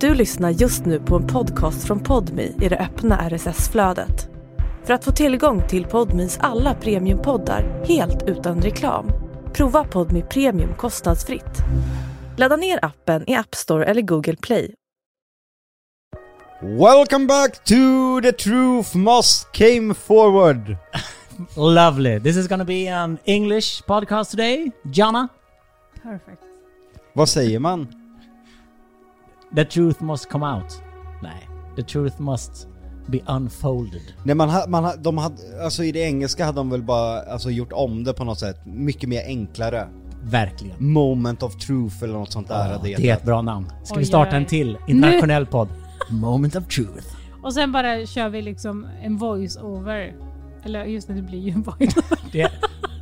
Du lyssnar just nu på en podcast från Podmi i det öppna RSS-flödet. För att få tillgång till Podmis alla premiumpoddar helt utan reklam, prova Podmi Premium kostnadsfritt. Ladda ner appen i App Store eller Google Play. Welcome back to The Truth Must Came Forward. Lovely. This is gonna be an English podcast today. Jana, Perfect. Vad säger man? the truth must come out. Nej. The truth must be unfolded. Nej, man, ha- man, ha- de hade, alltså I det engelska hade de väl bara alltså, gjort om det på något sätt. Mycket mer enklare. Verkligen. Moment of truth eller något sånt där hade det är ett hetat. bra namn. Ska vi Oj, starta oj. en till internationell podd? Moment of truth. Och sen bara kör vi liksom en voice-over. Eller just det, det blir ju en voice-over. Det,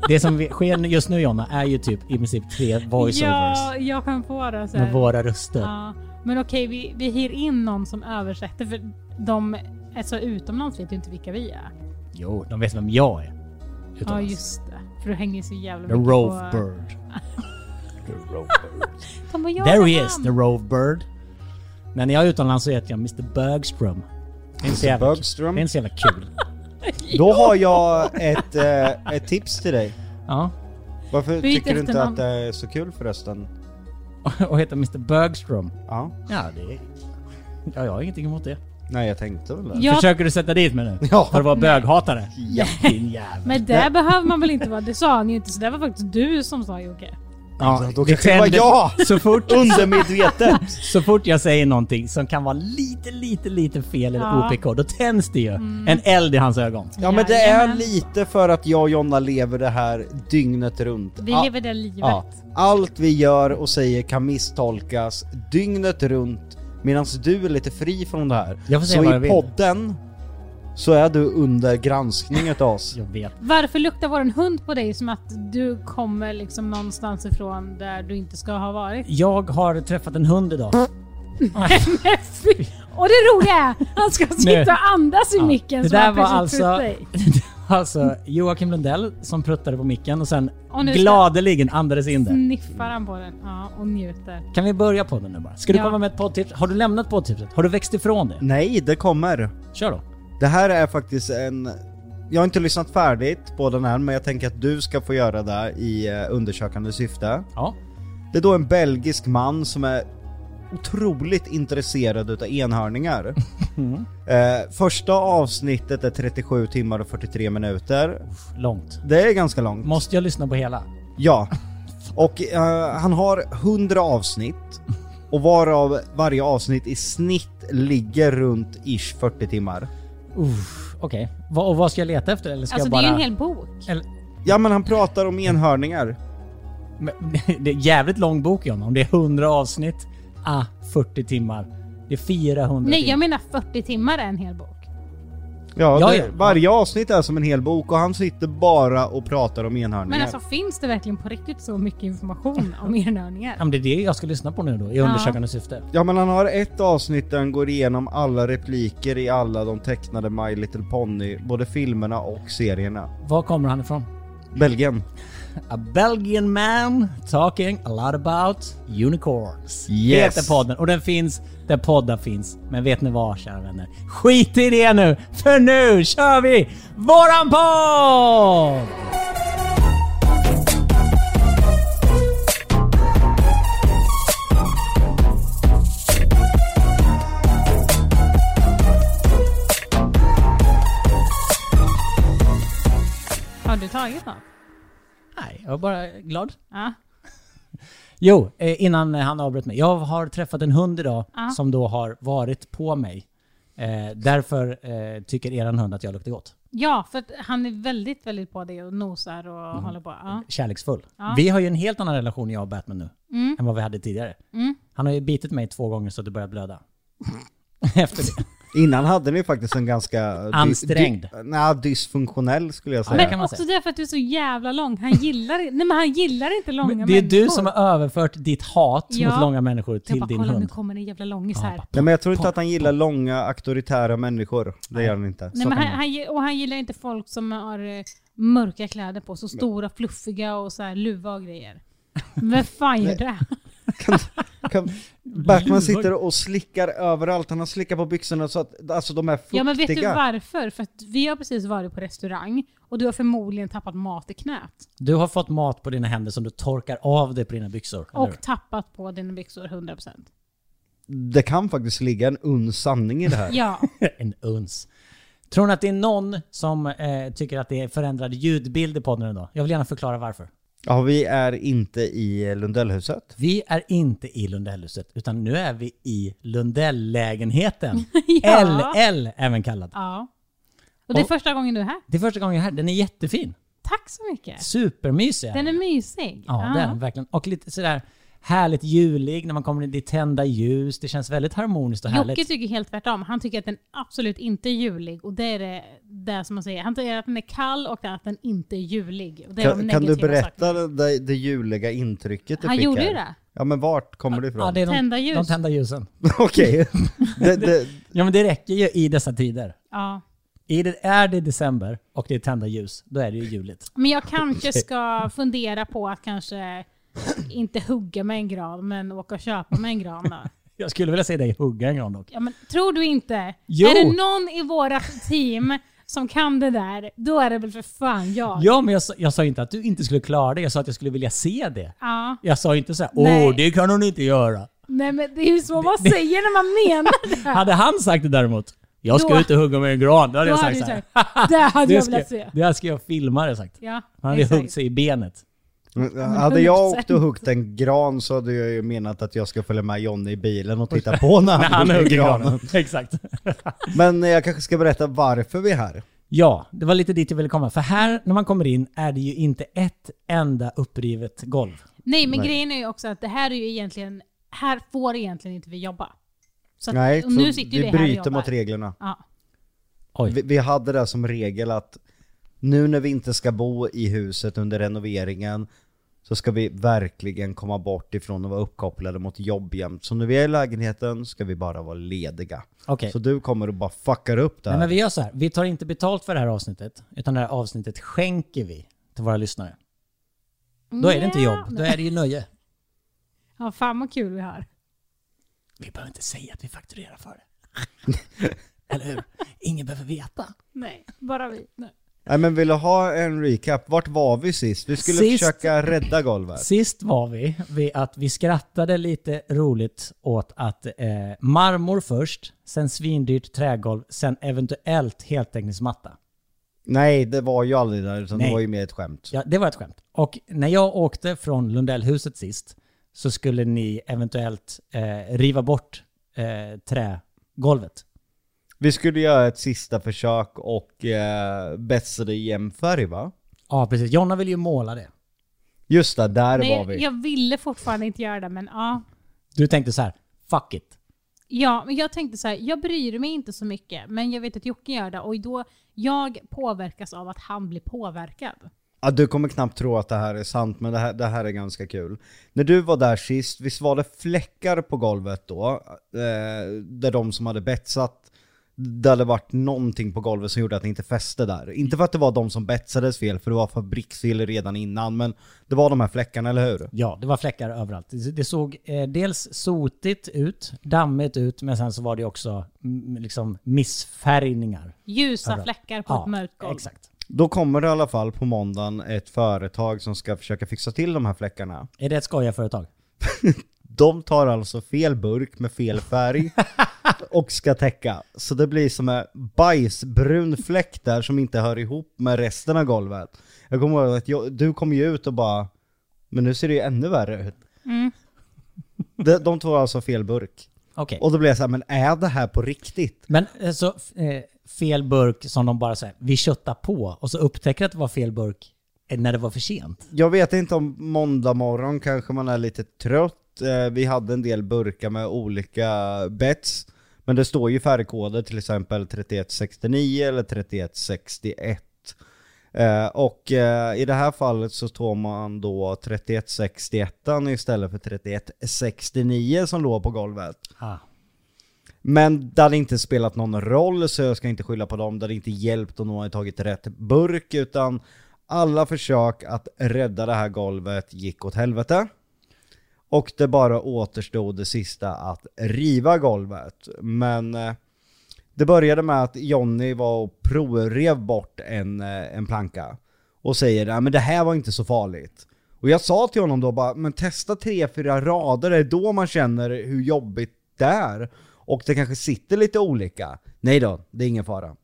det som vi- sker just nu Jonna är ju typ i princip tre voiceovers. Ja, jag kan få det. Så här. Med våra röster. ja. Men okej, vi, vi hyr in någon som översätter för de alltså, utomlands vet ju inte vilka vi är. Jo, de vet vem jag är. Utan Ja, oss. just det. För du hänger så jävla The mycket Rove på... Bird. De bara, ja, There he han. is, the Rove Bird. Men när jag är utomlands så heter jag Mr Bergström. Det är inte så jävla- Bergström. Det är inte så jävla kul. Då har jag ett, eh, ett tips till dig. Ja. Varför Byt tycker du inte efternamn. att det är så kul förresten? Och heter Mr Bergström. Ja. Ja, det är... Ja, jag har ingenting emot det. Nej, jag tänkte väl det. Ja, Försöker du sätta dit mig nu? Ja. För att vara böghatare? Ja. Din jävel. men det behöver man väl inte vara. Det sa han ju inte, så det var faktiskt du som sa Jocke. Ja, då det kanske det var tänder- jag. Så fort, Undermedvetet! så fort jag säger någonting som kan vara lite, lite, lite fel eller Ja. Mm. OPK, då tänds det ju. En eld i hans ögon. Ja men det är Jajamän. lite för att jag och Jonna lever det här dygnet runt. Vi Ja. lever det livet. Ja, allt vi gör och säger kan misstolkas dygnet runt medan du är lite fri från det här. Jag får säga så vad i jag vill. podden så är du under granskning utav oss. Jag vet. Varför luktar våran hund på dig som att du kommer liksom någonstans ifrån där du inte ska ha varit? Jag har träffat en hund idag. Och det roliga är, han ska sitta och andas i micken Det som där han var precis alltså, tryckt dig. alltså Joakim Lundell som pruttade på micken och sen Och nu ska- Mm. gladeligen andades in det. Sniffar han på den? Ja, och njuter. Kan vi börja på den nu bara? Ska du Ja. Mm. komma med ett poddtips? Har du lämnat poddtipset? Har du växt ifrån det? Nej, det kommer. Kör då. Det här är faktiskt en... Jag har inte lyssnat färdigt på den här men jag tänker att du ska få göra det i eh, undersökande syfte. Ja. Det är då en belgisk man som är otroligt intresserad utav enhörningar. Mm. Eh, första avsnittet är 37 timmar och 43 minuter. Långt. Det är ganska långt. Måste jag lyssna på hela? Ja. Och eh, han har 100 avsnitt. Och varav varje avsnitt i snitt ligger runt ish 40 timmar. Uff, Okej. Va- Och vad ska jag leta efter? Eller ska Alltså jag bara... det är ju en hel bok. Eller... Ja men han pratar om enhörningar. Men, det är jävligt lång bok John. Om det är 100 avsnitt, ah, 40 timmar. Det är 400 Nej, timmar. jag menar 40 timmar är en hel bok. Ja, Ja, det, ja. Varje avsnitt är som en hel bok och han sitter bara och pratar om enhörningar. Men alltså finns det verkligen på riktigt så mycket information om Ja, enhörningar? men det är det jag ska lyssna på nu då, i undersökande syfte. Ja men han har ett avsnitt där han går igenom alla repliker i alla de tecknade My Little Pony, både filmerna och serierna. Var kommer han ifrån? Belgien. A Belgian man talking a lot about unicorns. Yes. Det heter podden och den finns där poddar finns. Men vet ni vad kära vänner? Skit i det nu! För nu kör vi våran podd! Har du tagit något? Nej, jag är bara glad. Ja. Jo, eh, innan eh, han avbröt mig. Jag har träffat en hund idag Ja. som då har varit på mig. Eh, därför eh, tycker eran hund att jag luktar gott. ja, för att han är väldigt, väldigt på det och nosar och Mm. håller på. Ja. Kärleksfull. Ja. Mm. Vi har ju en helt annan relation jag och Batman nu än vad vi hade tidigare. Han har ju bitit mig två gånger så att det börjar blöda. Efter det. Innan hade ni faktiskt en ganska... dy- Ansträngd. dy- Nej, dysfunktionell skulle jag säga. kan Men man också säga. därför att du är så jävla lång. Han gillar, nej, men han gillar inte långa Det är du människor. som har överfört ditt hat mot Ja. långa människor Jag till bara, din kolla, nu hund. kommer det en jävla långis Ja, här. pappa. Nej men jag tror inte att han gillar långa, auktoritära människor. Det gör han inte. Nej, men han, han, gi- och han gillar inte folk som har eh, mörka kläder på sig, och stora fluffiga och så här luva och grejer. Vem fan gör det? Kan, Backman sitter och slickar överallt, han har slickat på byxorna så att alltså de är fuktiga. Ja men vet du varför? För att vi har precis varit på restaurang och du har förmodligen tappat mat i knät. Du har fått mat på dina händer som du torkar av dig på dina byxor. eller hur? Och tappat på dina byxor 100%. Det kan faktiskt ligga en uns sanning i det här. Ja. en uns. Tror ni att det är någon som eh, tycker att det är förändrad ljudbild i podden idag? Jag vill gärna förklara varför. Ja, vi är inte i Lundellhuset. Vi är inte i Lundellhuset, utan nu är vi i Lundell-lägenheten. Ja. LL även kallad. ja. Och det är Och- första gången du är här. Det är första gången jag är här. Den är jättefin. Tack så mycket. Supermysig. Den är mysig. Ja, den verkligen. Och lite sådär härligt julig när man kommer in. Det är tända ljus. Det känns väldigt harmoniskt och Jocke härligt. tycker helt tvärtom. Han tycker att den absolut inte är julig. Och det är det, det som man säger. Han tycker att den är kall och att den inte är julig. Och det är de Kan, kan du negativa berätta sakerna. det, det juliga intrycket du Han fick gjorde här? ju det. Ja men vart kommer det ifrån? Ja, det är de, Tända ljus. de tända ljusen. Okej. Det, det, Ja, men det räcker ju i dessa tider. Ja. I det, är det december och det är tända ljus, då är det ju juligt. Men jag kanske ska fundera på att kanske inte hugga med en gran, men åka och köpa med en gran då. Jag skulle vilja se dig hugga en gran dock. Ja, men, tror du inte? Jo. Är det någon i vårat team som kan det där, då är det väl för fan jag. Ja, men jag, sa- jag sa inte att du inte skulle klara det. Jag sa att jag skulle vilja se det. Ja. Jag sa inte så här, Nej. åh, det kan hon inte göra. Nej men det är ju så man säger när man menar det. Hade han sagt det däremot, jag ska Då- ut och hugga med en gran, då hade Då jag hade sagt du så här. sagt, det hade Det jag velat ska, se. det här ska jag filma, hade jag sagt. Ja, Han hade exakt. huggit sig i benet. hade jag åkt och huggit en gran så hade jag ju menat att jag ska följa med Jonny i bilen och titta på när han, Han hugger hugger granen. granen. Exakt. Men jag kanske ska berätta varför vi är här. Ja, det var lite dit jag ville komma. För här, när man kommer in, är det ju inte ett enda upprivet golv. Nej men Nej. grejen är ju också att det här är ju egentligen, här får egentligen inte vi jobba. Så att, Nej, och nu så sitter vi ju vi här och bryter jobbar. mot reglerna. Ja. Oj. Vi, vi hade det som regel att nu när vi inte ska bo i huset under renoveringen så ska vi verkligen komma bort ifrån att vara uppkopplade mot jobb jämt. Så när vi är i lägenheten ska vi bara vara lediga. Okej. Så du kommer och bara fuckar upp det Nej, här. men vi gör så här. Vi tar inte betalt för det här avsnittet, utan det här avsnittet skänker vi till våra lyssnare. Då är det inte Ja, jobb, då nej. är det ju nöje. Ja fan vad kul vi har. Vi behöver inte säga att vi fakturerar för det. Eller hur? Ingen behöver veta. Nej, bara vi. Nej. Nej men vill du ha en recap? Vart var vi sist? Vi skulle Sist- försöka rädda golvet. Sist var vi vid att vi skrattade lite roligt åt att eh, marmor först, sen svindyrt trägolv, sen eventuellt heltäckningsmatta. matta. Nej det var ju aldrig där utan det Nej. var ju mer ett skämt. Ja, det var ett skämt. Och när jag åkte från Lundellhuset sist så skulle ni eventuellt eh, riva bort eh, trägolvet. Vi skulle göra ett sista försök och eh, bättre jämfärg va? Ja, precis. Jonna vill ju måla det. Just det, där var vi. Nej, jag ville fortfarande inte göra det men ja. Du tänkte så här, fuck it. Ja, men jag tänkte så här, jag bryr mig inte så mycket, men jag vet att Jocke gör det och då, jag påverkas av att han blir påverkad. Ja, du kommer knappt tro att det här är sant, men det här, det här är ganska kul. När du var där sist, visst var det fläckar på golvet då? Eh, där de som hade betsat, det hade varit någonting på golvet som gjorde att det inte fäste där. Inte för att det var de som betsades fel, för det var fabriksfel redan innan, men det var de här fläckarna, eller hur? Ja, det var fläckar överallt. Det det såg eh, dels sotigt ut, dammigt ut, men sen så var det också mm, liksom missfärgningar. Ljusa Överallt. fläckar på ett mörkt golv. exakt. Då kommer det i alla fall på måndagen ett företag som ska försöka fixa till de här fläckarna. Är det ett skojarföretag? De tar alltså fel burk med fel färg och ska täcka. Så det blir som en bajsbrun fläck där som inte hör ihop med resten av golvet. Jag kommer ihåg att jag, du kom ju ut och bara, men nu ser det ju ännu värre ut. Mm. De, de tar alltså fel burk. Okej. Och då blev jag såhär, men är det här på riktigt? Men eh, så eh, fel burk som de bara säger, vi köttar på och så upptäcker att det var fel burk eh, när det var för sent. Jag vet inte om måndag morgon kanske man är lite trött. Eh, Vi hade en del burkar med olika bets. Men det står ju färgkoder till exempel 3169 eller 3161. Eh, Och eh, i det här fallet så står man då 3161 istället för 3169 som låg på golvet. Men det hade inte spelat någon roll så jag ska inte skylla på dem. Det hade inte hjälpt om de hade tagit rätt burk utan alla försök att rädda det här golvet gick åt helvete. Och det bara återstod det sista att riva golvet. Men eh, det började med att Jonny var och provrev bort en, eh, en planka. Och säger att men det här var inte så farligt. Och jag sa till honom då bara, men testa tre, fyra rader, det är då man känner hur jobbigt det är. Och det kanske sitter lite olika. Nej då, det är ingen fara.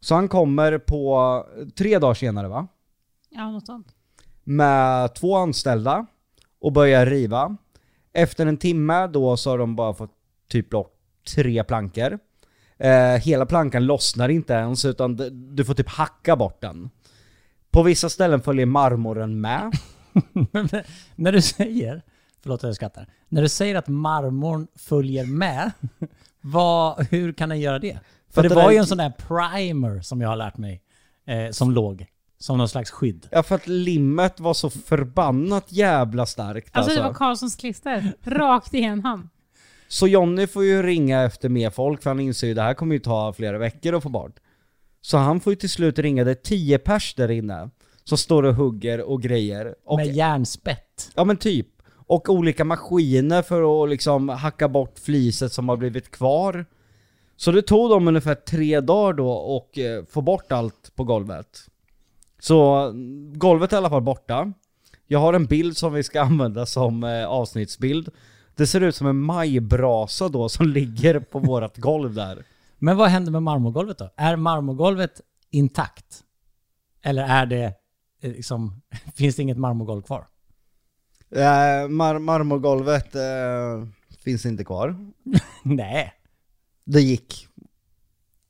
Så han kommer på eh, tre dagar senare va? Ja, något sånt. med två anställda och börjar riva. Efter en timme då så har de bara fått typ bort tre plankor. Eh, hela plankan lossnar inte ens utan d- du får typ hacka bort den. På vissa ställen följer marmoren med. När du säger, förlåt att jag skrattar, när du säger att marmorn följer med, vad, hur kan den göra det? För Fattar det var du? ju en sån där primer som jag har lärt mig, eh, som låg, som någon slags skydd. Ja för att limmet var så förbannat jävla starkt Alltså alltså. det var Karlssons klister. Rakt i en hand. Så Jonny får ju ringa efter mer folk för han inser ju det här kommer ju ta flera veckor att få bort. Så han får ju till slut ringa, det är tio pers där inne. Som står och hugger och grejer. Och Med järnspett. Ja men typ. Och olika maskiner för att liksom hacka bort fliset som har blivit kvar. Så det tog dem ungefär tre dagar då och eh, få bort allt på golvet. Så mm, golvet är i alla fall borta. Jag har en bild som vi ska använda som eh, avsnittsbild. Det ser ut som en majbrasa då som ligger på vårat golv där. Men vad händer med marmorgolvet då? Är marmorgolvet intakt? Eller är det eh, liksom, finns det inget marmorgolv kvar? Eh, mar- marmorgolvet eh, finns inte kvar. Nej. Det gick.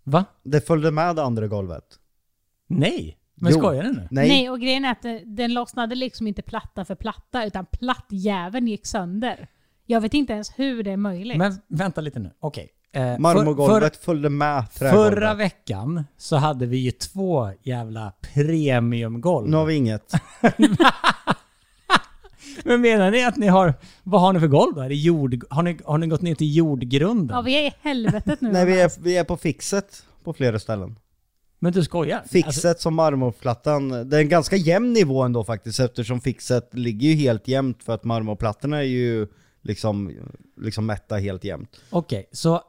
Va? Det följde med det andra golvet. Nej. Men Jo. skojar du nu? Nej. och grejen är att eh, den lossnade liksom inte platta för platta utan plattjäveln gick sönder. Jag vet inte ens hur det är möjligt. Men vänta lite nu. Okej. Eh, för- Marmorgolvet följde med för- trägolvet. Förra veckan så hade vi ju två jävla premiumgolv. Nu har vi inget. Men menar ni att ni har... Vad har ni för golv då? Är det jord, har, ni, har ni gått ner till jordgrunden? ja, vi är i helvetet nu. Nej vi är, vi är på fixet på flera ställen. Men du skojar? Fixet Alltså, som marmorplattan, det är en ganska jämn nivå ändå faktiskt eftersom fixet ligger ju helt jämnt för att marmorplattorna är ju liksom, liksom mätta helt jämnt. Okej, så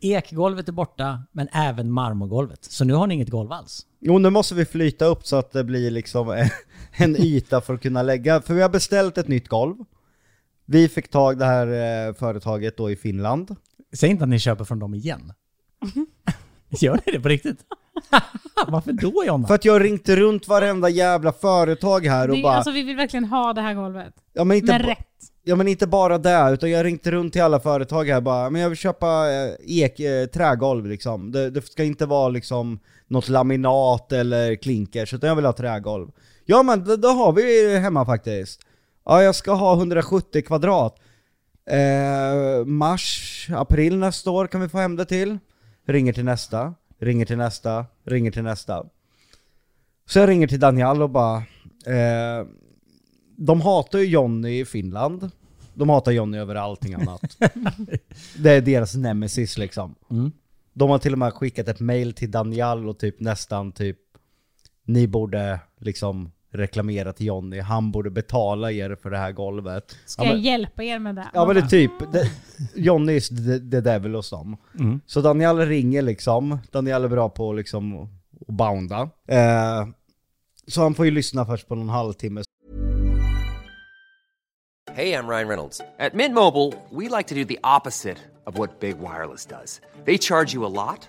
ekgolvet är borta, men även marmorgolvet. Så nu har ni inget golv alls? Jo nu måste vi flyta upp så att det blir liksom en- en yta för att kunna lägga, för vi har beställt ett nytt golv. Vi fick tag det här eh, företaget då i Finland. Säg inte att ni köper från dem igen. Gör ni det på riktigt? Varför då Jonna? För att jag ringde runt varenda jävla företag här och vi, bara... alltså, vi vill verkligen ha det här golvet. ja, men inte Men ba- rätt. Ja men inte bara det, utan jag ringde runt till alla företag här bara, men jag vill köpa eh, ek, eh, trägolv liksom. Det, det ska inte vara liksom något laminat eller klinkers, utan jag vill ha trägolv. Ja men det, det har vi ju hemma faktiskt. Ja jag ska ha 170 kvadrat. Eh, mars, april nästa år kan vi få hem det till. Ringer till nästa, ringer till nästa, ringer till nästa. Så jag ringer till Daniel och bara, eh, de hatar ju Jonny i Finland. De hatar Jonny över allting annat. det är deras nemesis liksom. Mm. De har till och med skickat ett mail till Daniel och typ nästan typ ni borde liksom reklamera till Jonny, han borde betala er för det här golvet. Ska ja, men, jag hjälpa er med det? ja men det är typ, det- Jonny is the, the devil hos dem. Mm. Så Daniel ringer liksom, Daniel är bra på liksom att bounda. Eh, så han får ju lyssna först på någon halvtimme Hey, I'm Ryan Reynolds. At Mint Mobile, we like to do the opposite of what Big Wireless does. They charge you a lot,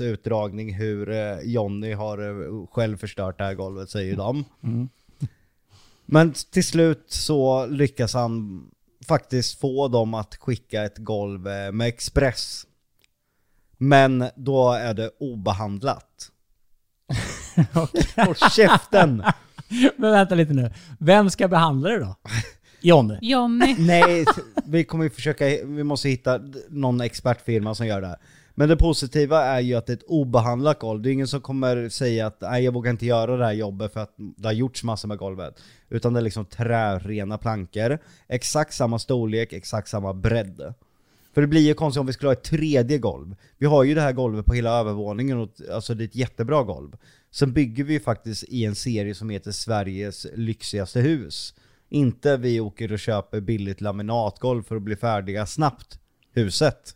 utdragning hur eh, Jonny har eh, själv förstört det här golvet säger de. Men till slut så lyckas han faktiskt få dem att skicka ett golv eh, med Express. Men då är det obehandlat. Håll käften! Men vänta lite nu. Vem ska behandla det då? John. Johnny. Nej, vi kommer ju försöka, vi måste hitta någon expertfirma som gör det här. Men det positiva är ju att det är ett obehandlat golv. Det är ingen som kommer säga att nej jag vågar inte göra det här jobbet för att det har gjorts massor med golvet. Utan det är liksom trärena plankor. Exakt samma storlek, exakt samma bredd. För det blir ju konstigt om vi skulle ha ett tredje golv. Vi har ju det här golvet på hela övervåningen och alltså det är ett jättebra golv. Sen bygger vi ju faktiskt i en serie som heter Sveriges lyxigaste hus. Inte vi åker och köper billigt laminatgolv för att bli färdiga snabbt. Huset.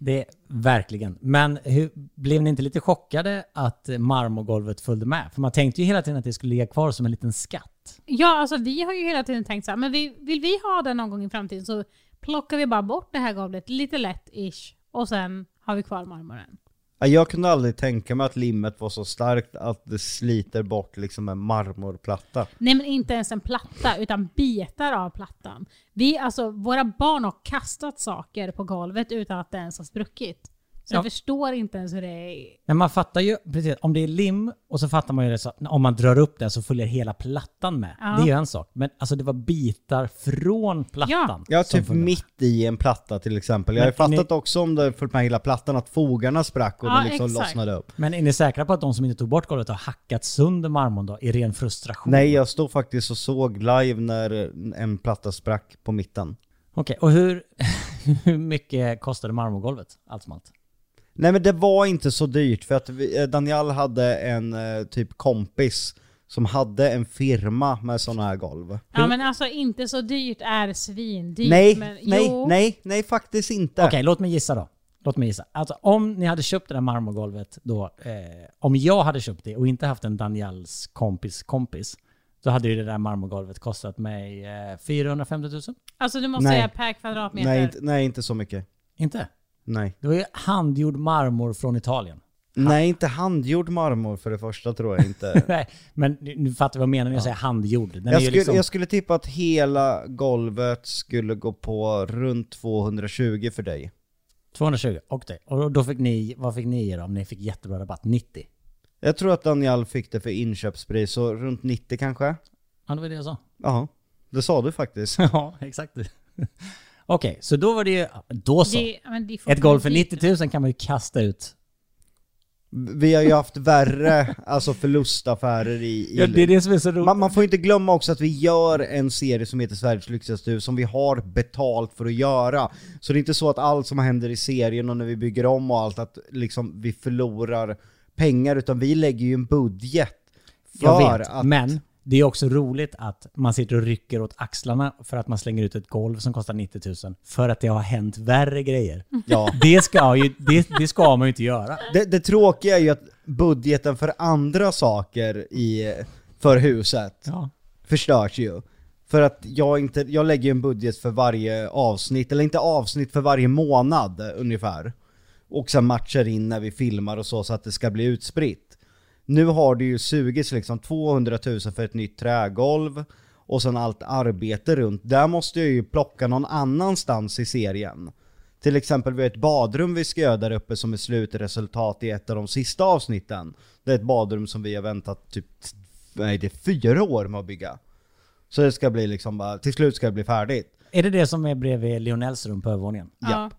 Det verkligen. Men hur, blev ni inte lite chockade att marmorgolvet följde med? För man tänkte ju hela tiden att det skulle ligga kvar som en liten skatt. Ja, alltså vi har ju hela tiden tänkt så här, men vi, vill vi ha den någon gång i framtiden så plockar vi bara bort det här golvet lite lätt-ish och sen har vi kvar marmoren. Ja, Jag kunde aldrig tänka mig att limmet var så starkt att det sliter bort liksom en marmorplatta. Nej men inte ens en platta, utan bitar av plattan. Vi, alltså, våra barn har kastat saker på golvet utan att det ens har spruckit. Så Ja. jag förstår inte ens hur det är. Men man fattar ju, precis, om det är lim och så fattar man ju det så, om man drar upp den så följer hela plattan med. Ja. Det är ju en sak. Men alltså det var bitar från plattan. Ja, som typ följde med. mitt i en platta till exempel. Jag har ju Men ni- fattat också om det följt med hela plattan att fogarna sprack och Ja, den liksom exakt. lossnade upp. Men är ni säkra på att de som inte tog bort golvet har hackat sönder marmorn då i ren frustration? Nej, jag stod faktiskt och såg live när en platta sprack på mitten. Okej, och hur, hur mycket kostade marmorgolvet? Allt som allt. Nej men det var inte så dyrt för att vi, eh, Daniel hade en eh, typ kompis som hade en firma med sådana här golv. Ja men alltså inte så dyrt är svindyrt. nej, men, nej, jo. nej, nej faktiskt inte. Okej, låt mig gissa då. Låt mig gissa. Alltså om ni hade köpt det där marmorgolvet då, eh, om jag hade köpt det och inte haft en Daniels kompis kompis, då hade ju det där marmorgolvet kostat mig eh, 450 000. Alltså du måste Nej. säga per kvadratmeter. nej, inte, nej inte så mycket. Inte? Nej. Det var ju handgjord marmor från Italien. Nej inte handgjord marmor för det första tror jag inte. Nej, men nu nu fattar jag vad jag menar när jag säger handgjord. Den är jag, ju skulle, liksom, jag skulle tippa att hela golvet skulle gå på runt 220 för dig. 220, okej. Och då fick ni, vad fick ni er om ni fick jättebra rabatt? 90? Jag tror att Daniel fick det för inköpspris, så runt 90 kanske? Ja, det var det jag sa. Ja, det sa du faktiskt. Ja, exakt. Okej, så då var det ju... Då så. Det, men det är Ett fortfarande golv för dyrt. 90 000 kan man ju kasta ut. Vi har ju haft värre alltså förlustaffärer i, i det som är så man, man får inte glömma också att vi gör en serie som heter Sveriges lyxigaste hus som vi har betalt för att göra. Så det är inte så att allt som händer i serien och när vi bygger om och allt att liksom vi förlorar pengar utan vi lägger ju en budget för Jag vet, att... men det är också roligt att man sitter och rycker åt axlarna för att man slänger ut ett golv som kostar 90 000 för att det har hänt värre grejer. Ja. Det ska, ju, det, det ska man ju inte göra. Det, det tråkiga är ju att budgeten för andra saker i, för huset Ja. förstörs ju. För att jag, inte, jag lägger ju en budget för varje avsnitt, eller inte avsnitt för varje månad eh, ungefär. Och sen matchar in när vi filmar och så, så att det ska bli utspritt. Nu har det ju sugits liksom 200 000 för ett nytt trägolv och sen allt arbete runt. Där måste jag ju plocka någon annanstans i serien. Till exempel vi har ett badrum vi ska göra där uppe som är slutresultat i ett av de sista avsnitten. Det är ett badrum som vi har väntat typ, nej det är fyra år med att bygga. Så det ska bli liksom bara, till slut ska det bli färdigt. Är det det som är bredvid Lionels rum på övervåningen? Ja.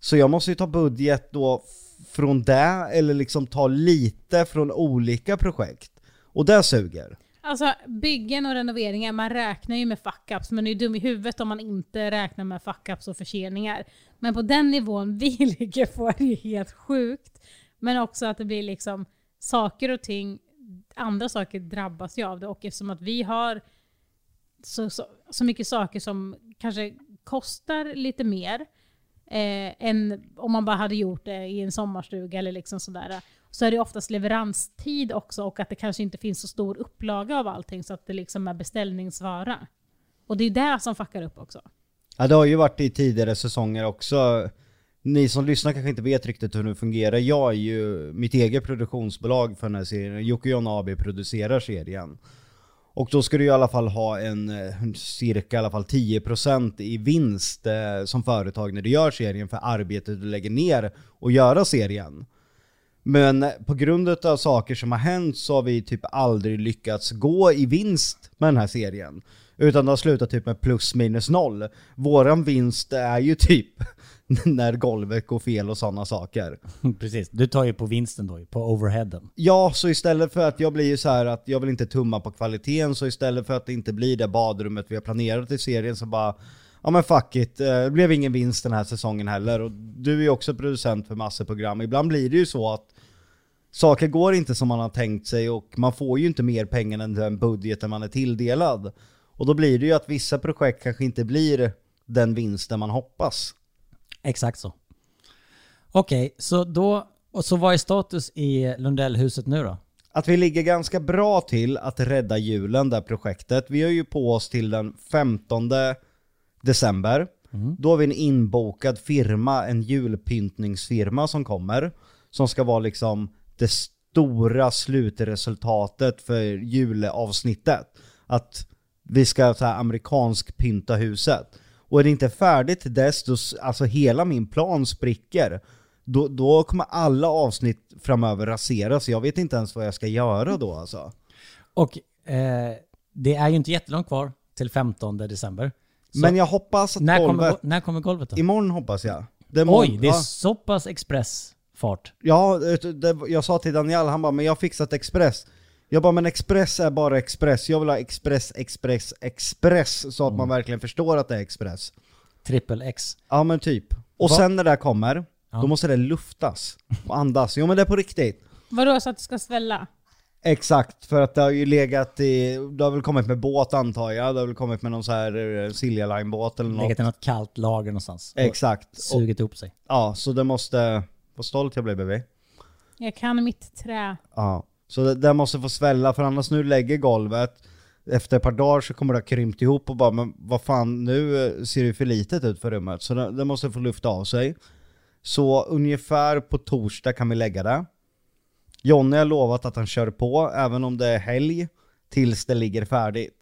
Så jag måste ju ta budget då f- från det, eller liksom ta lite från olika projekt. Och det suger. Alltså byggen och renoveringar, man räknar ju med fuck-ups. Man är ju dum i huvudet om man inte räknar med fuck-ups och förseningar. Men på den nivån vi ligger på är det ju helt sjukt. Men också att det blir liksom saker och ting, andra saker drabbas ju av det. Och eftersom att vi har så, så, så mycket saker som kanske kostar lite mer eh, än om man bara hade gjort det i en sommarstuga eller liksom sådär. Så är det oftast leveranstid också och att det kanske inte finns så stor upplaga av allting så att det liksom är beställningsvara. Och det är det som fuckar upp också. Ja, det har ju varit i tidigare säsonger också. Ni som lyssnar kanske inte vet riktigt hur det fungerar. Jag är ju mitt eget produktionsbolag för den här serien. Jocke och John AB producerar serien. Och då ska du i alla fall ha en eh, cirka i alla fall 10% i vinst eh, som företag när du gör serien för arbetet du lägger ner och göra serien. Men på grund av saker som har hänt så har vi typ aldrig lyckats gå i vinst med den här serien. Utan det har slutat typ med plus minus noll. Våran vinst är ju typ när golvet går fel och sådana saker. Precis, du tar ju på vinsten då, på overheaden. Ja, så istället för att jag blir ju så här att jag vill inte tumma på kvaliteten, så istället för att det inte blir det badrummet vi har planerat i serien så bara, ja men fuck it, eh, det blev ingen vinst den här säsongen heller. Och du är ju också producent för massor program. Ibland blir det ju så att saker går inte som man har tänkt sig och man får ju inte mer pengar än den budgeten man är tilldelad. Och då blir det ju att vissa projekt kanske inte blir den vinsten man hoppas. Exakt så. Okej, så då... Och så vad är status i Lundellhuset nu då? Att vi ligger ganska bra till att rädda julen, det här projektet. Vi har ju på oss till den 15 december. Då har vi en inbokad firma, en julpyntningsfirma som kommer. Som ska vara liksom det stora slutresultatet för julavsnittet. Att vi ska så här, amerikansk pynta huset. Och är det inte färdigt till dess, då, s- alltså hela min plan spricker. Då, då kommer alla avsnitt framöver raseras, jag vet inte ens vad jag ska göra då alltså. Och eh, det är ju inte jättelångt kvar till 15 december. Så Men jag hoppas att när, kommer, golvet... go- när kommer golvet då? Imorgon hoppas jag. Det är Oj, det är ja. så pass expressfart. Ja, det, jag sa till Daniel, han bara 'Men jag har fixat Express' Jag bara 'Men Express är bara Express, jag vill ha Express, Express, Express' så att Mm. man verkligen förstår att det är Express. Trippel X. Ja men typ. Och Va? sen när det där kommer, Ja. då måste det luftas och andas. Jo men det är på riktigt. Vadå så att det ska svälla? Exakt, för att det har ju legat i, det har väl kommit med båt antar jag, det har väl kommit med någon så här eh, Silja Line-båt eller något. Legat i något kallt lager någonstans. och Exakt. Och, Sugit ihop sig. ja, så det måste, vad stolt jag blev baby. Jag kan mitt trä. Ja. Så det, det måste få svälla, för annars nu lägger golvet, efter ett par dagar så kommer det ha krympt ihop och bara men vad fan, nu eh, ser det ju för litet ut för rummet. Så det, det måste få lufta av sig. Så ungefär på torsdag kan vi lägga det. Jonny har lovat att han kör på, även om det är helg, tills det ligger färdigt.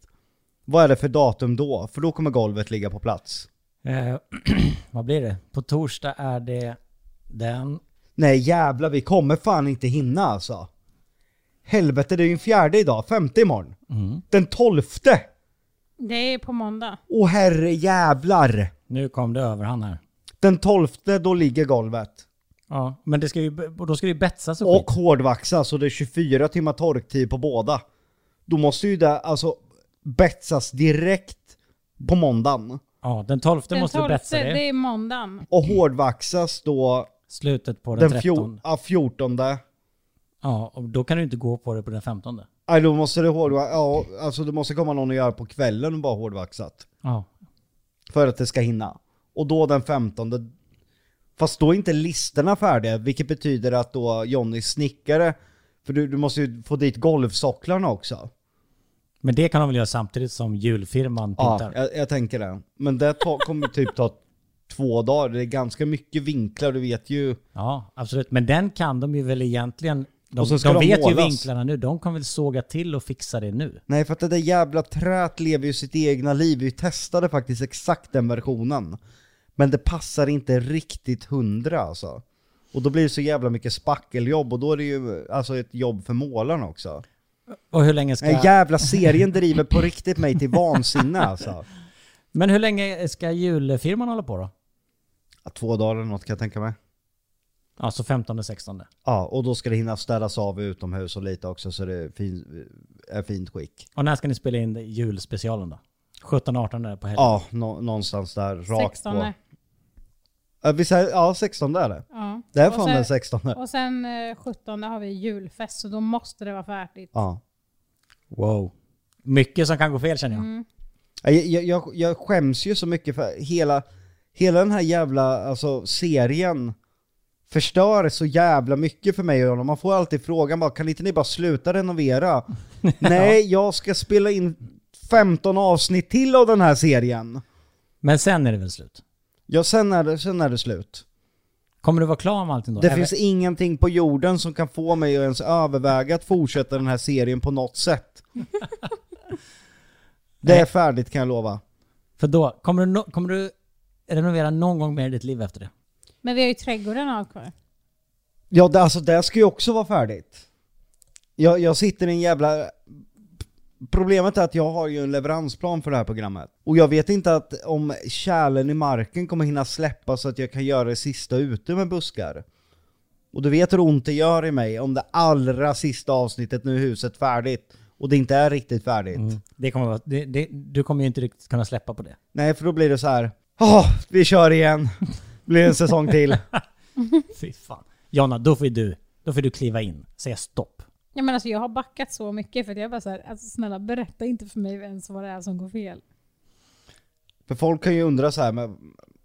Vad är det för datum då? För då kommer golvet ligga på plats. Eh, vad blir det? På torsdag är det den... Nej jävlar, vi kommer fan inte hinna alltså. Helvete, det är ju en fjärde idag, femte imorgon. Den tolfte! Det är på måndag. Åh herre jävlar! Nu kom det över han här. Den tolfte, då ligger golvet. Ja, men det ska ju, och då ska det ju betsas och, Och skit. hårdvaxas och det är 24 timmar torktid på båda. Då måste ju det alltså betsas direkt på måndagen. Ja, den 12 Den måste 12, du betsa det. det är måndagen. Och hårdvaxas då Slutet på den, den, 13. fjor- ja, 14. Ja, och då kan du inte gå på det på den 15. Nej då måste det hårdvaxas, ja alltså det måste komma någon och göra på kvällen och bara hårdvaxat. Ja. För att det ska hinna. Och då den 15. Fast då är inte listerna färdiga, vilket betyder att då Jonny snickare, för du, du måste ju få dit golvsocklarna också. Men det kan de väl göra samtidigt som julfirman Ja, pyntar? jag, jag tänker det. Men det ta, kommer typ ta två dagar, det är ganska mycket vinklar, du vet ju. Ja, absolut. Men den kan de ju väl egentligen... De, Och så ska de, de vet ju målas. vinklarna nu. De kan väl såga till och fixa det nu. Nej för att det där jävla trät lever ju sitt egna liv, vi testade faktiskt exakt den versionen. Men det passar inte riktigt hundra alltså. Och då blir det så jävla mycket spackeljobb och då är det ju alltså ett jobb för målarna också. Och hur länge ska... Den jävla serien driver på riktigt mig till vansinne alltså. Men hur länge ska julfirman hålla på då? Ja, Två dagar eller något kan jag tänka mig. Ja, så 15-16. Ja, och då ska det hinna städas av utomhus och lite också så det är, fin, är fint skick. Och när ska ni spela in julspecialen då? 17-18 där på helgen? Ja, nå- någonstans där rakt 16. på. Ja, vi säger, ja, 16 är det. Ja. Det är Och fan sen- den 16. Och sen eh, 17 har vi julfest så då måste det vara färdigt. Ja. Wow. Mycket som kan gå fel känner jag. Ja, Jag, jag, jag skäms ju så mycket för hela, hela den här jävla alltså, serien förstör så jävla mycket för mig och honom. Man får alltid frågan bara, kan inte ni bara sluta renovera? Nej, jag ska spela in 15 avsnitt till av den här serien. Men sen är det väl slut? Ja, sen är det, sen är det slut. Kommer du vara klar med allting då? Det Även- finns ingenting på jorden som kan få mig att ens överväga att fortsätta den här serien på något sätt. Det är färdigt kan jag lova. För då, kommer du, no- kommer du renovera någon gång mer i ditt liv efter det? Men vi har ju trädgården och allt kvar. Ja, det, alltså det ska ju också vara färdigt. Jag, jag sitter i en jävla... Problemet är att jag har ju en leveransplan för det här programmet. Och jag vet inte att om kärlen i marken kommer hinna släppa så att jag kan göra det sista ute med buskar. Och du vet hur ont det gör i mig om det allra sista avsnittet nu är huset färdigt och det inte är riktigt färdigt. Det kommer vara, det, det, du kommer ju inte riktigt kunna släppa på det. Nej, för då blir det så här. Åh, vi kör igen. Blir en säsong till. Fy fan. Jonna, då får ju du, då får du kliva in, säga stopp. Ja, men alltså, jag har backat så mycket för att jag bara så här, alltså, snälla berätta inte för mig ens vad det är som går fel. För folk kan ju undra så här, men,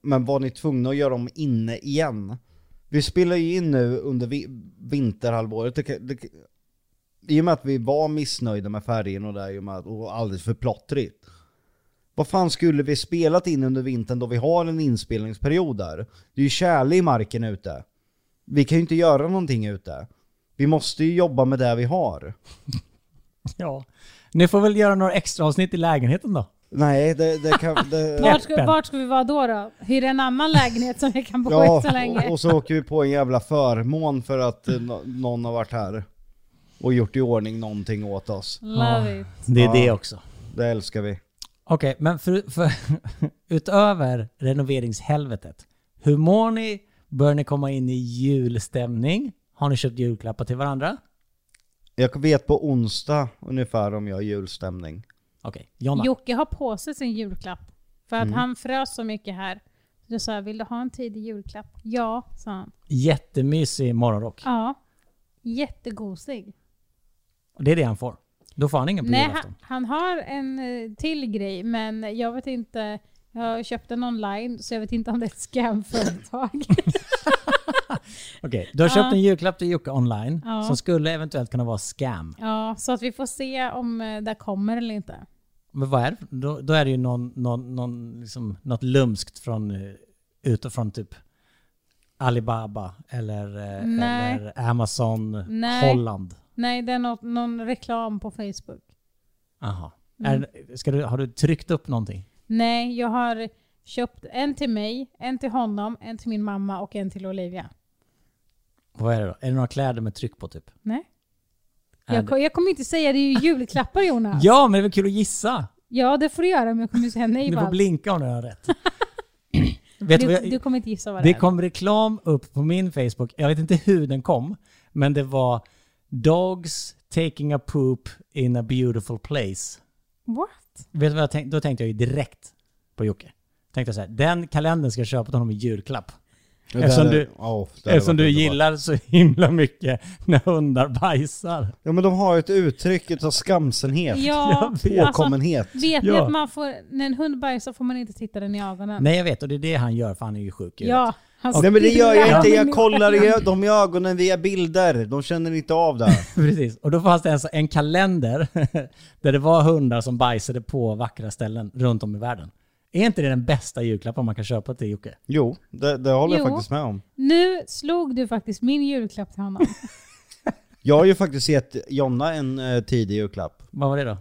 men var ni tvungna att göra om inne igen? Vi spelar ju in nu under vi, vinterhalvåret. Det, kan- det, kan- I och med att vi var missnöjda med färgen och där, i och, med, att- och alldeles för plottrigt. Vad fan skulle vi spelat in under vintern då vi har en inspelningsperiod där? Det är ju tjäle i marken ute. Vi kan ju inte göra någonting ute. Vi måste ju jobba med det vi har. Ja. Ni får väl göra några extra avsnitt i lägenheten då. Nej, det, det kan... Det, Vart ska, Peppen. vart ska vi vara då? då? Hyra en annan lägenhet som vi kan bo i så länge? och, och så åker vi på en jävla förmån för att eh, nå- någon har varit här och gjort i ordning någonting åt oss. Mm. Love it. Det är Ja. det också. Det älskar vi. Okej, men för, för, utöver renoveringshelvetet, hur mår ni? Bör ni komma in i julstämning? Har ni köpt julklappar till varandra? Jag vet på onsdag ungefär om jag har julstämning. Okej, Jonna. Jocke har på sig sin julklapp. För att han frös så mycket här. Så jag sa, vill du ha en tidig julklapp? Ja, sa han. Jättemysig morgonrock. Ja. Jättegosig. Och Det är det han får. Då får han ingen på Nej, julafton. han, han har en eh, till grej, men jag vet inte. Jag köpte den online, så jag vet inte om det är ett scamföretag. Okej, du har Ja. köpt en julklapp till Jocke online Ja. som skulle eventuellt kunna vara scam. ja, så att vi får se om eh, det kommer eller inte. Men vad är det? för- Då, då är det ju någon, någon, någon, liksom, något lumskt från eh, utifrån typ Alibaba eller, eh, Nej. eller Amazon Nej. Holland. Nej, det är nå- någon reklam på Facebook. Aha. Mm. Är, det- ska du, har du tryckt upp någonting? Nej, jag har köpt en till mig, en till honom, en till min mamma och en till Olivia. Vad är det då? Är det några kläder med tryck på typ? Nej. Är Jag, det, ko- jag kommer inte säga, det är ju julklappar Jonas. ja, men det är väl kul att gissa? Ja, det får du göra men jag kommer säga nej Du på får allt. blinka om du har rätt. Vet du vad Du, jag, du kommer inte gissa vad det det är. kom reklam upp på min Facebook. Jag vet inte hur den kom, men det var Dogs taking a poop in a beautiful place. What? Vet du vad jag tänkte? Då tänkte jag ju direkt på Jocke. Tänkte jag så här, den kalendern ska jag köpa till honom i julklapp. Det Eftersom hade- du- ja, det hade Eftersom varit du underbart. gillar så himla mycket när hundar bajsar. Ja men de har ju ett uttryck utav skamsenhet. Ja, alltså, Påkommenhet. vet ni Ja. att man får, när en hund bajsar får man inte titta den i ögonen? Nej jag vet, och det är det han gör för han är ju sjuk. i Ja. han Nej men det gör jag stirrar inte, in i- jag kollar i dem i ögonen via bilder. De känner inte av det. Precis, och då fanns det alltså en kalender där det var hundar som bajsade på vackra ställen runt om i världen. Är inte det den bästa julklappen man kan köpa till Jocke? Jo, det, det håller Jo. jag faktiskt med om. Nu slog du faktiskt min julklapp till honom. Jag har ju faktiskt gett Jonna en eh, tidig julklapp. Vad var det då?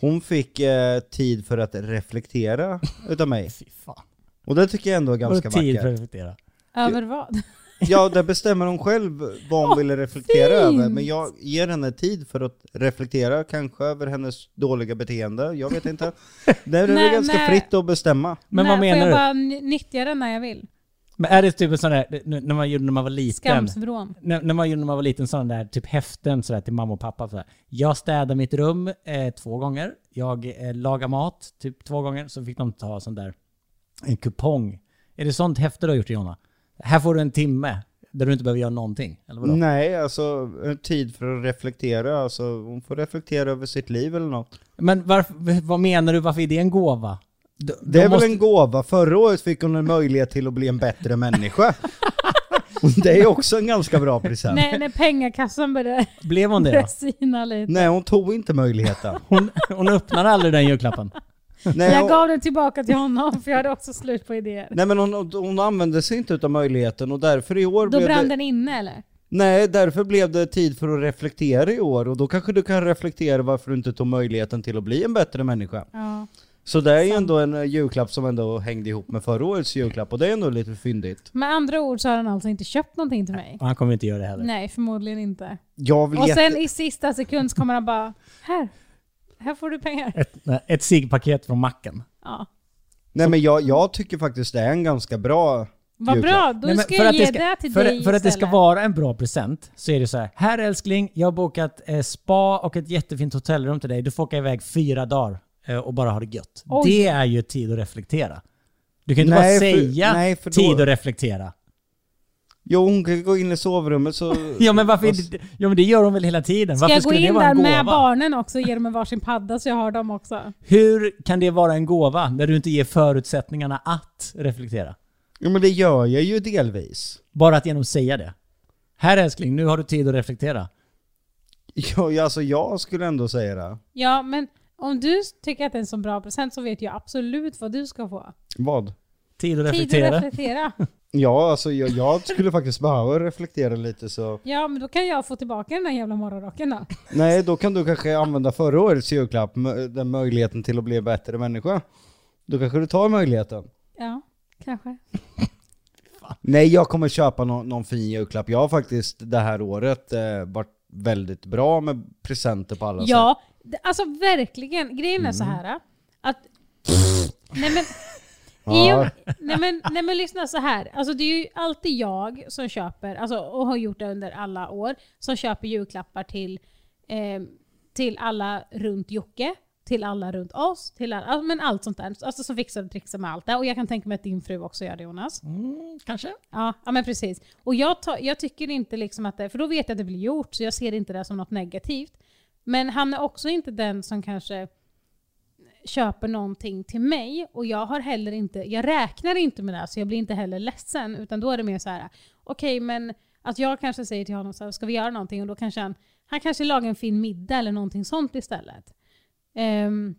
Hon fick eh, tid för att reflektera utav mig. Fy fan. Och det tycker jag ändå är ganska var det tid vackert. för att reflektera? Över vad? Ja, där bestämmer hon själv vad hon Åh, vill reflektera fint! över. Men jag ger henne tid för att reflektera, kanske över hennes dåliga beteende. Jag vet inte. Det är Nej, väl ganska men- fritt att bestämma. Men när vad menar får du? jag bara n- nyttja den när jag vill? Men är det typ en sån där, nu- när man gjorde när man var liten, Skamsvrån. när, när man gjorde när man var liten, sån där typ häften sådär till mamma och pappa. Sådär. Jag städar mitt rum eh, två gånger, jag eh, lagar mat typ två gånger, så fick de ta sån där, en kupong. Är det sånt häfte du har gjort Jonna? Här får du en timme där du inte behöver göra någonting, eller vadå? Nej, alltså en tid för att reflektera. Alltså, hon får reflektera över sitt liv eller något. Men varför, vad menar du, varför är det en gåva? De, Det är de väl måste- en gåva. Förra året fick hon en möjlighet till att bli en bättre människa. Det är också en ganska bra present. Nej, När, när pengakassan började Blev hon det då? dressina lite. hon tog inte möjligheten. Hon, hon öppnade aldrig den julklappen. Nej, Jag hon- gav den tillbaka till honom för jag hade också slut på idéer. Nej men hon, hon använde sig inte utav möjligheten och därför i år Då blev brann det... den inne eller? Nej, därför blev det tid för att reflektera i år och då kanske du kan reflektera varför du inte tog möjligheten till att bli en bättre människa. Ja. Så det är ju ändå en eh, julklapp som ändå hängde ihop med förra årets julklapp och det är ändå lite fyndigt. Med andra ord så har han alltså inte köpt någonting till mig. Och han kommer inte göra det heller. Nej, förmodligen inte. Jag vill Och sen jätte... i sista sekund så kommer han bara, här, här får du pengar. Ett, nej, ett cigpaket från macken. Ja. Nej men jag, jag tycker faktiskt det är en ganska bra Vad julklapp. bra, då Nej, men ska för jag att ge det det, ska- till för, dig För att det ska istället. vara en bra present så är det så här. Här älskling, jag har bokat eh, spa och ett jättefint hotellrum till dig. Du får åka iväg fyra dagar eh, och bara ha det gött. Oj. Det är ju tid att reflektera. Du kan inte Nej, bara för- säga nej, för då- tid att reflektera. Jo hon kan gå in i sovrummet så... Ja men varför inte? Ja men det gör hon väl hela tiden? Ska varför jag gå skulle det in vara där en gåva? med barnen också och ge dem en varsin padda så jag har dem också? Hur kan det vara en gåva när du inte ger förutsättningarna att reflektera? Jo men det gör jag ju delvis. Bara att genom att säga det. Här älskling, nu har du tid att reflektera. Jag, alltså jag skulle ändå säga det. Ja, men om du tycker att det är en så bra present så vet jag absolut vad du ska få. Vad? Tid att Tid att reflektera. reflektera. Ja alltså jag, jag skulle faktiskt behöva reflektera lite så... Ja, men då kan jag få tillbaka den där jävla morgonrocken då. Nej då kan du kanske använda förra årets julklapp, mö- den möjligheten till att bli en bättre människa. Då kanske du tar möjligheten. Ja, kanske. Nej, jag kommer köpa nå- någon fin julklapp. Jag har faktiskt det här året eh, varit väldigt bra med presenter på alla sätt. Ja, det- alltså verkligen. Grejen är så här äh, att... nej men... I, Ja. nej, men, nej men lyssna så här. Alltså det är ju alltid jag som köper, alltså, och har gjort det under alla år, som köper julklappar till, eh, till alla runt Jocke, till alla runt oss, till alla, alltså, men allt sånt där. Alltså som fixar och trixar med allt det. Och jag kan tänka mig att din fru också gör det Jonas. Mm, Kanske. Ja, ja men precis. Och jag, ta, jag tycker inte liksom att det, för då vet jag att det blir gjort, så jag ser inte det som något negativt. Men han är också inte den som kanske köper någonting till mig och jag har heller inte, jag räknar inte med det så jag blir inte heller ledsen utan då är det mer så här: okej men att jag kanske säger till honom så här, ska vi göra någonting och då kanske han, han kanske lagar en fin middag eller någonting sånt istället. Ehm,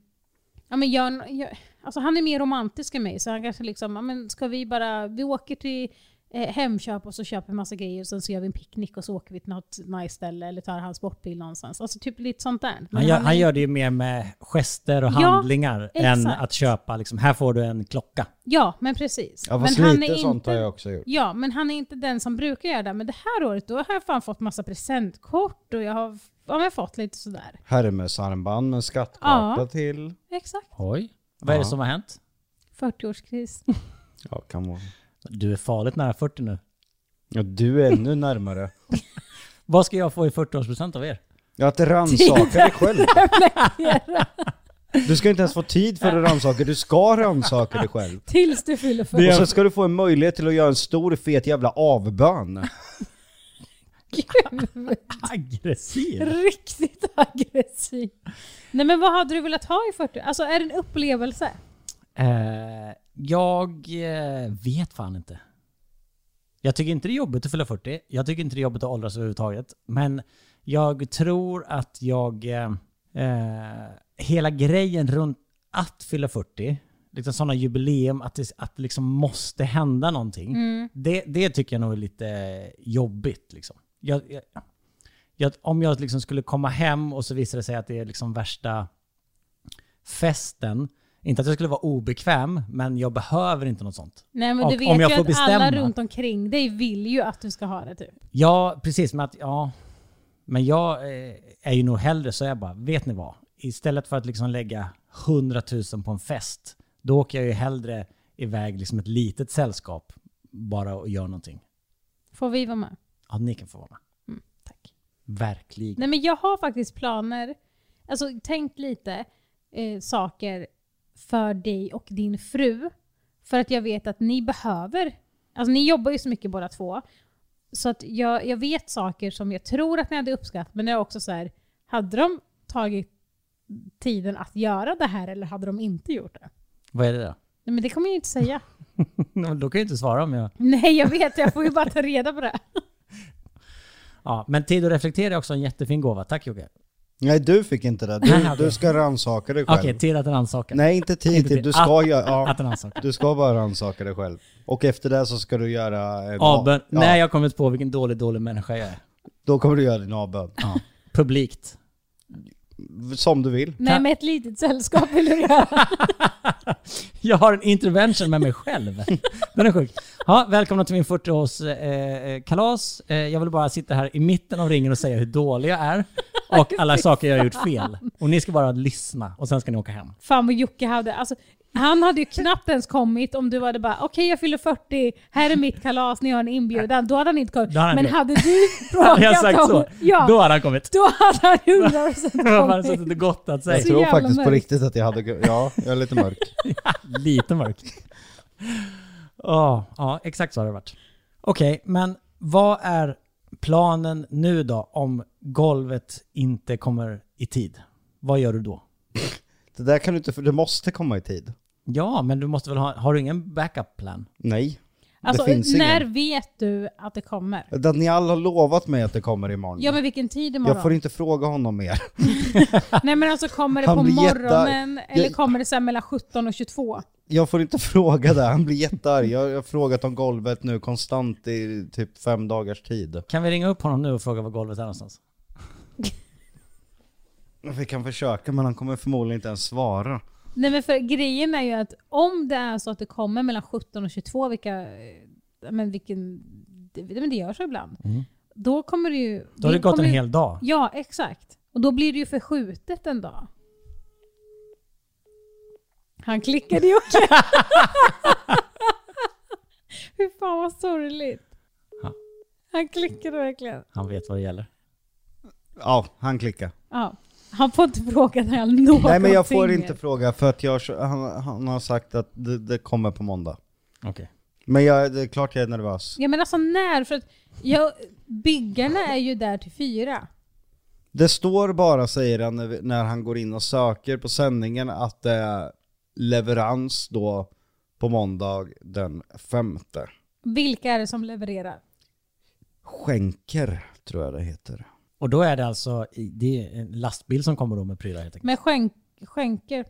ja, men jag, jag, alltså han är mer romantisk än mig så han kanske liksom, ja, men ska vi bara, vi åker till eh, Hemköp och så köper vi massa grejer och sen så gör vi en picknick och så åker vi till något nice ställe eller tar hans sportbil någonstans. Alltså typ lite sånt där. Men Han gör, är- han gör det ju mer med gester och Ja, handlingar än exakt. att köpa liksom, här får du en klocka. Ja, men precis. Ja, men fast lite sånt har jag också gjort. Ja, men han är inte den som brukar göra det. Men det här året då har jag fan fått massa presentkort och jag har, ja, men fått lite sådär. Hermes-armband med skattkarta Ja. till. Exakt. Oj. Vad är det som har hänt? 40-årskris. Ja, kan vara. Du är farligt nära 40 nu. Ja, du är ännu närmare. Vad ska jag få i 40-årspresent av er? Ja, att rannsaka dig själv. Du ska inte ens få tid för att rannsaka, du ska rannsaka dig själv. Tills du fyller 40. Och så ska du få en möjlighet till att göra en stor fet jävla avbön. Aggressiv. Riktigt aggressiv. Nej men vad hade du velat ha i 40? Alltså är det en upplevelse? Eh, jag eh, vet fan inte. Jag tycker inte det är jobbigt att fylla 40. Jag tycker inte det är jobbigt att åldras överhuvudtaget. Men jag tror att jag... Eh, eh, hela grejen runt att fylla 40, liksom sådana jubileum, att det, att det liksom måste hända någonting. Det, det tycker jag nog är lite jobbigt. Liksom. Jag, jag, jag, om jag liksom skulle komma hem och så visar det sig att det är liksom värsta festen. Inte att jag skulle vara obekväm, men jag behöver inte något sånt. Nej men Och du vet om jag ju får att bestämma. alla runt omkring dig vill ju att du ska ha det typ. Ja, precis. Men, att, ja, men jag eh, är ju nog hellre så jag bara, vet ni vad? Istället för att liksom lägga 100 000 på en fest, då åker jag ju hellre iväg liksom ett litet sällskap bara och gör någonting. Får vi vara med? Ja, ni kan få vara med. Tack. Verkligen. Nej men jag har faktiskt planer, alltså tänkt lite eh, saker för dig och din fru. För att jag vet att ni behöver, alltså ni jobbar ju så mycket båda två. Så att jag, jag vet saker som jag tror att ni hade uppskattat, men jag är också så här, hade de tagit tiden att göra det här eller hade de inte gjort det? Vad är det då? Nej men det kommer jag ju inte säga. Men då kan jag ju inte svara om jag... Nej jag vet, jag får ju bara ta reda på det. Ja, men tid att reflektera är också en jättefin gåva. Tack Jocke. Nej, du fick inte det. Nej, Du, okej. du ska rannsaka dig själv. Okej, tid att rannsaka. Nej, inte tid Inte till. tid. Du ska Att- göra... Ja. Att rannsaka. Du ska bara rannsaka dig själv. Och efter det så ska du göra... En Avbön. Ja, Nej, jag har kommit på vilken dålig, dålig människa jag är. Då kommer du göra din avbön. Ja. Publikt. Som du vill. Nej, med ett litet sällskap vill du göra. Jag har en intervention med mig själv. Den är sjuk. Ja, välkomna till min 40-årskalas. Eh, jag vill bara sitta här i mitten av ringen och säga hur dålig jag är och alla saker jag har gjort fel. Och ni ska bara lyssna och sen ska ni åka hem. Fan vad Jocke hade. Alltså, han hade ju knappt ens kommit om du hade bara okej jag fyller 40, här är mitt kalas, ni har en inbjudan. Då hade han inte kommit. Då hade han Men inte- hade du Hade jag frågat sagt om... så, Ja, då hade han kommit. då hade han 100% Han har bara kommit. suttit och gottat Jag Så sig. tror jävla faktiskt på mörkt. riktigt att jag hade Ja, jag är lite mörk. Lite mörk. Ja, ja, exakt så har det varit. Okej, men vad är planen nu då om golvet inte kommer i tid? Vad gör du då? Det där kan du inte, för det måste komma i tid. Ja, men du måste väl ha, har du ingen backup plan? Nej. Alltså, det finns när ingen. vet du att det kommer? Daniel har lovat mig att det kommer imorgon. Ja men vilken tid jag imorgon? får inte fråga honom mer. Nej men alltså kommer det Han på blir jätte- morgonen eller Jag- kommer det sen mellan 17 och 22? Jag får inte fråga det, han blir jättearg. Jag jag har frågat om golvet nu konstant i typ fem dagars tid. Kan vi ringa upp honom nu och fråga var golvet är någonstans? Vi kan försöka men han kommer förmodligen inte ens svara. Nej men för grejen är ju att om det är så att det kommer mellan 17 och 22, vilka, eh, men vilken, det, men det gör så ibland. Då kommer det ju... Mm. Då har det gått en kommer ju- hel dag. Ja, exakt. Och då blir det ju förskjutet en dag. Han klickade ju också. Hur fan vad sorgligt. Ja. Han klickade verkligen. Han vet vad det gäller. Ja, han klickar. Ja. Han får inte fråga när han någonting. Nej men jag får inte fråga för att jag, han, han har sagt att det, det kommer på måndag. Okej. Men jag, det är klart jag är nervös. Ja men alltså när? För att jag, byggarna är ju där till fyra. Det står bara, säger han när, vi- när han går in och söker på sändningen, att det är leverans då på måndag den femte. Vilka är det som levererar? Skänker, tror jag det heter. Och då är det alltså i- det är en lastbil som kommer då med prylar helt enkelt. Men skänk, skänker?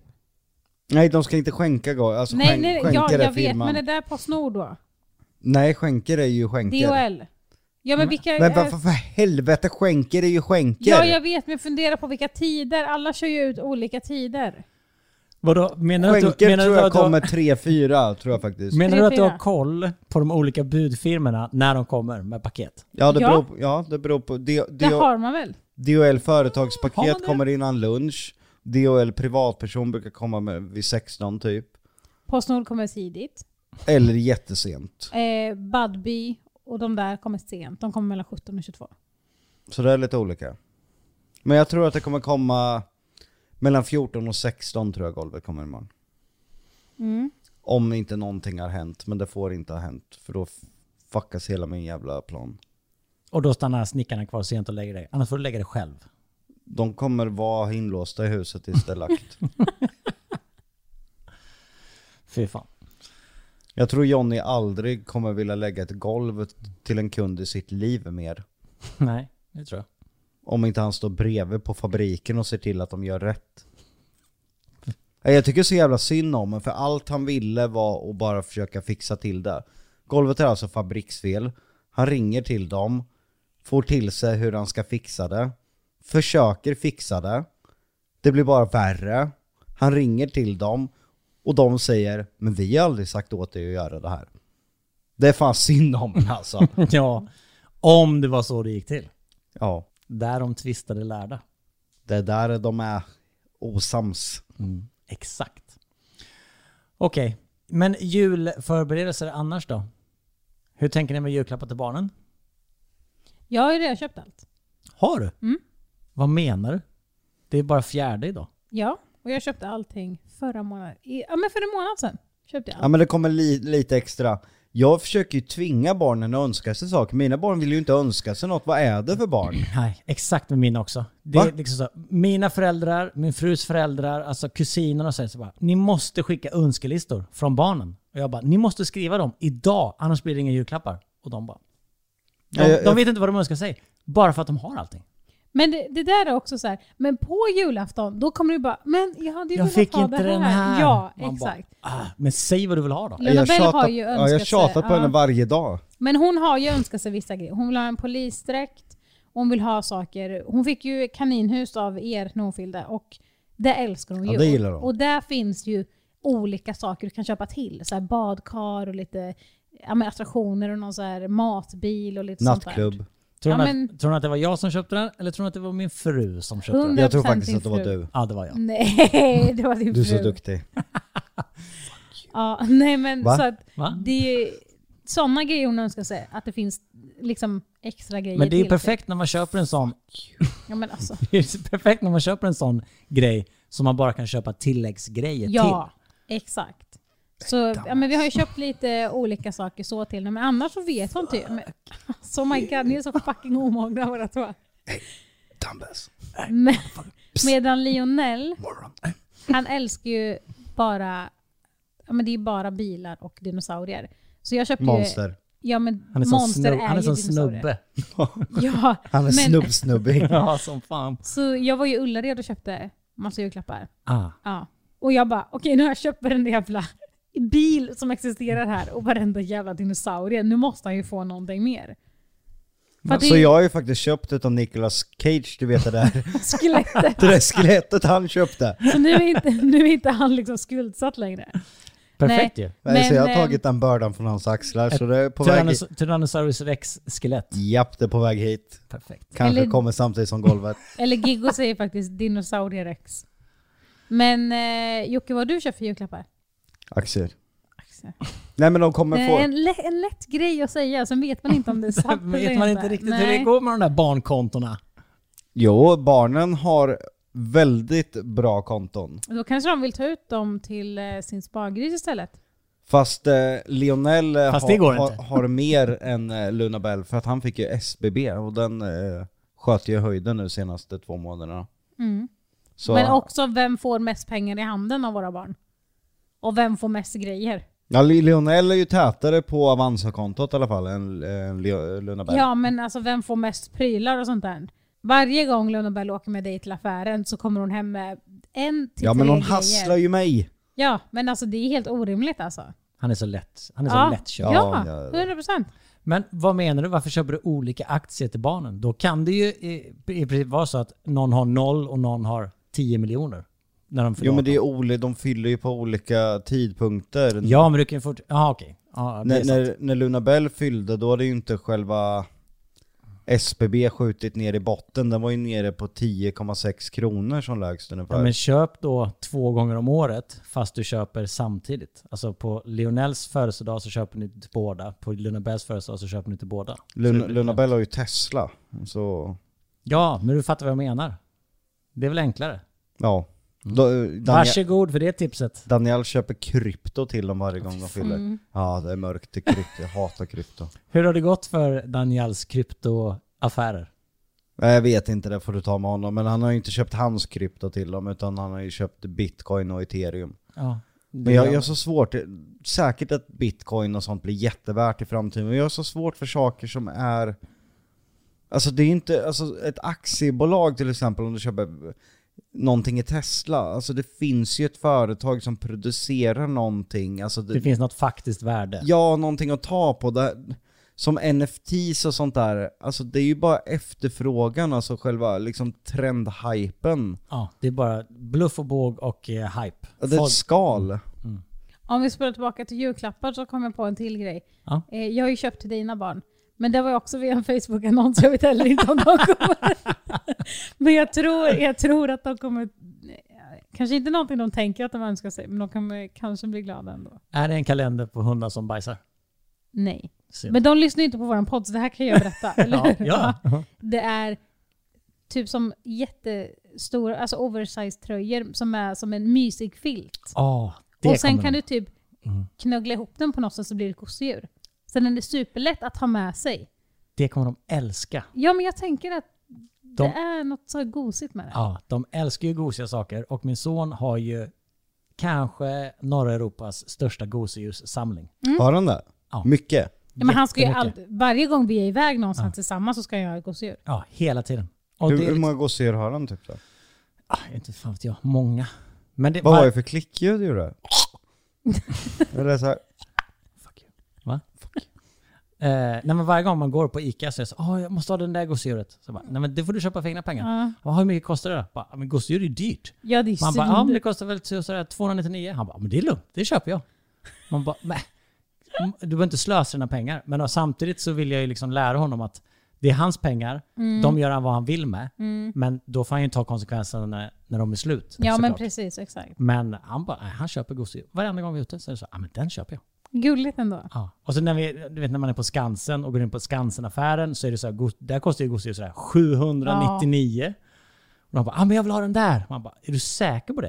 Nej, de ska inte skänka golv. Alltså, nej, skänk, nej, skänker ja, är jag vet. firman. Men det där på snor då? Nej, skänker är ju skänker. DHL? Ja men vilka... Men är- varför för helvete, skänker är ju skänker. Ja, jag vet, men fundera på vilka tider. Alla kör ju ut olika tider. Vadå, menar du att du, Skänker menar tror du, jag att du, kommer har, tre fyra tror jag faktiskt. menar du att du Tre, har fyra. koll på de olika budfirmorna när de kommer med paket? ja, det Ja. beror på, ja, det beror på. D, Det D, har man väl? DHL Har företagspaket man det? kommer innan lunch. DHL privatperson brukar komma med vid 16 typ. Postnord kommer tidigt. Eller jättesent. Eh, Budbee och de där kommer sent. De kommer mellan 17 och 22. Så det är lite olika. Men jag tror att det kommer komma mellan 14 och 16 tror jag golvet kommer imorgon. Om inte någonting har hänt, men det får inte ha hänt. För då fuckas hela min jävla plan. Och då stannar snickarna kvar sent och lägger dig. Annars får du lägga dig själv. De kommer vara inlåsta i huset tills det är lagt. Fy fan. Jag tror Johnny aldrig kommer vilja lägga ett golv till en kund i sitt liv mer. Nej, det tror jag. Om inte han står bredvid på fabriken och ser till att de gör rätt. Nej, Jag tycker så jävla synd om honom, för allt han ville var att bara försöka fixa till det. Golvet är alltså fabriksfel. Han ringer till dem, får till sig hur han ska fixa det, försöker fixa det. Det blir bara värre. Han ringer till dem och de säger “Men vi har aldrig sagt åt dig att göra det här”. Det är fan synd om honom alltså. Ja, om det var så det gick till. Ja, Där de tvistade lärda. det är där de är osams. Exakt. Okej, men julförberedelser annars då? Hur tänker ni med julklappar till barnen? Jag har ju redan köpt allt. Har du? Vad menar du? Det är bara fjärde idag. Ja, och jag köpte allting förra månaden. I, ja, men för en månad sedan köpte jag Ja allt. men det kommer li lite extra. Jag försöker ju tvinga barnen att önska sig saker. Mina barn vill ju inte önska sig något. Vad är det för barn? Nej, exakt med mina också. Det Va? är liksom så, mina föräldrar, min frus föräldrar, alltså kusinerna säger så bara Ni måste skicka önskelistor från barnen. Och jag bara, ni måste skriva dem idag, annars blir det inga julklappar. Och de bara, de, Ja, jag- de vet inte vad de önskar sig. Bara för att de har allting. Men det, det där är också så här. men på julafton, då kommer du bara, men jag hade ju Jag velat fick ha inte det här. den här. Ja, Man bara, exakt. ah, men säg vad du vill ha då. Lena Bell har ju ja, jag önskat tjatar sig- på henne ja. varje dag. Men hon har ju önskat sig vissa grejer. Hon vill ha en polisdräkt Och hon vill ha saker. Hon fick ju kaninhus av er när hon fyllde och det älskar hon Ja, ju. det gillar hon. Och där finns ju olika saker du kan köpa till. Så här badkar och lite ja, men attraktioner och någon så här matbil och lite sånt Nattklubb. Tror hon, Ja, men- att, tror hon att det var jag som köpte den eller tror hon att det var min fru som köpte den? Hundra- Jag tror 100% faktiskt att det var din fru. du. Ja, det var jag. Nej, det var din Du är fru. så duktig. Ja, nej men Va? så att Va? det är ju sådana grejer hon önskar sig. Att det finns liksom extra grejer Men det är ju till perfekt när man köper en sån sig. Ja, men alltså. Det är perfekt när man köper en sån grej som man bara kan köpa tilläggsgrejer Ja, exakt. Så ja, men vi har ju köpt lite olika saker så till henne, men annars så vet hon typ. Men, alltså, oh my god, ni är så fucking omogna båda två. Dumbass. Men, medan Lionel, han älskar ju bara, ja, men det är bara bilar och dinosaurier. Så jag köpte ju, Monster. ja men till. Han är som, monster snub- är han är ju som dinosaurier. snubbe. Ja, Han är men- snubbsnubbig. Ja, som fan. Så jag var ju i Ullared och köpte massa julklappar. Ah. Ja. Och jag bara, okej nu har jag köpt varenda jävla bil som existerar här och varenda jävla dinosaurie. Nu måste han ju få någonting mer. För att det Så är ju jag har ju faktiskt köpt utav Nicolas Cage, du vet det där. skelettet. Det där skelettet han köpte. Så nu är, inte, nu är inte han liksom skuldsatt längre. Perfekt Nej. ju. Nej, så jag har eh, tagit den bördan från hans axlar, så det är på väg hit. Tyrannos- Tyrannosaurus rex-skelett. Japp, det är på väg hit. Perfekt. Kanske Eller- kommer samtidigt som golvet. Eller Giggo säger faktiskt dinosaurierex. Men eh, Jocke, vad har du köpt för julklappar? Aktier. Axel. Nej men de kommer Eh, få... En, lä- en lätt grej att säga, sen vet man inte om det är sant eller Vet man inte riktigt hur det Nej. går med de där barnkontona? Jo, barnen har väldigt bra konton. Då kanske de vill ta ut dem till eh, sin spargris istället. Fast eh, Lionel eh, Fast det går har, inte. har, har mer än eh, Luna Bell, för att han fick ju SBB och den eh, sköt ju i höjden nu senaste två månaderna. Mm. Så, Men också, vem får mest pengar i handen av våra barn? Och vem får mest grejer? ja, Li- Lionel är ju tätare på Avanza-kontot i alla fall än, än Leo- Luna Bell. Ja, men alltså vem får mest prylar och sånt där? Varje gång Lundabell åker med dig till affären så kommer hon hem med en till Ja, tre men hon grejer. hasslar ju mig. Ja, men alltså det är helt orimligt alltså. Han är så lätt. Han är Ja. så lättköpt. Ja, Ja, ja. 100 procent. Men vad menar du? Varför köper du olika aktier till barnen? Då kan det ju i i princip vara så att någon har noll och någon har 10 miljoner. När de fyller Jo men det är 18. oli- de fyller ju på olika tidpunkter. Ja men du kan ju fort... Jaha okej. Ja, det är när, sant. när, när Luna Bell fyllde, då hade ju inte själva SBB skjutit ner i botten. Den var ju nere på 10,6 kronor som lägst ungefär. Ja, men köp då två gånger om året fast du köper samtidigt. Alltså på Lionels födelsedag så köper ni till båda. På Luna Bells födelsedag så köper ni till båda. Luna, Luna Bell har ju Tesla, så Ja, men du fattar vad jag menar. Det är väl enklare? ja. Mm. Då, eh, Daniel, Varsågod för det tipset. Daniel köper krypto till dem varje gång de fyller. Ja, det är mörkt i krypto. Jag hatar krypto. Hur har det gått för Daniels kryptoaffärer? Nej, Jag vet inte, det får du ta med honom. Men han har ju inte köpt hans krypto till dem, utan han har ju köpt bitcoin och ethereum. Ja. Men jag, jag har så svårt, säkert att bitcoin och sånt blir jättevärt i framtiden, men jag har så svårt för saker som är... Alltså det är inte, alltså ett aktiebolag till exempel om du köper någonting i Tesla, alltså det finns ju ett företag som producerar någonting, alltså Det finns något faktiskt värde. ja, någonting att ta på. Där, som NFTs och sånt där, alltså det är ju bara efterfrågan, alltså själva liksom trendhypen. Ja, det är bara bluff och båg och eh, hype. Det är ett Folk, skal. Om vi spolar tillbaka till julklappar så kommer jag på en till grej. Ja. Eh, jag har ju köpt till dina barn. Men det var ju också via en Facebook-annons, jag vet heller inte om de kommer. men jag tror, jag tror att de kommer... Kanske inte någonting de tänker att de önskar sig, men de kommer kanske bli glada ändå. är det en kalender på hundar som bajsar? Nej. Synd. Men de lyssnar ju inte på vår podd, så det här kan jag berätta. eller ja, hur? ja. Det är typ som jättestora, alltså oversized tröjor som är som en mysig filt. Ah, det och sen kommer Mm. kan de- du typ knöggla ihop den på något sätt så blir det gosedjur. Sen är det superlätt att ha med sig. Det kommer de älska. Ja men jag tänker att De- det är något så här gosigt med det. Ja, de älskar ju gosiga saker och min son har ju kanske norra Europas största gosedjurssamling. Har han det? Mm. Ja. Mycket? Ja, men han ska ju Jättemycket. alltid, varje gång vi är iväg någonstans tillsammans så ska jag ha ett gosedjur. Ja, hela tiden. Och hur, det är hur liksom, många gosedjur har han typ då? ah, inte fan vet jag, många. Men det Vad var var- det för klickljud du gjorde? Eller så här, Va? Eh, nej, men varje gång man går på ICA så är det så åh jag måste ha den där gosedjuret. Så bara, nej men det får du köpa för egna pengar. Ja. Bara, Hur mycket kostar det då? Bara, men gosedjur är ju dyrt. Ja, det är Man bara, ja men det svindyrt. kostar väl så- sådär 299. Han bara, men det är lugnt, det köper jag. Man bara, nej. Du behöver inte slösa dina pengar. Men då, samtidigt så vill jag ju liksom lära honom att det är hans pengar, Mm. de gör han vad han vill med. Men då får han ju ta konsekvenserna när, när de är slut. Ja, men såklart. precis. Exakt. Men han bara, nej, han köper gosedjur. Varenda gång vi är ute så är det så, ja men den köper jag. Gulligt ändå. Ja. Och så när, vi, du vet, när man är på Skansen och går in på Skansen-affären så är det så här, go- där kostar ju gosedjur sådär 799. Och de bara, ah, men jag vill ha den där. Man bara, är du säker på det?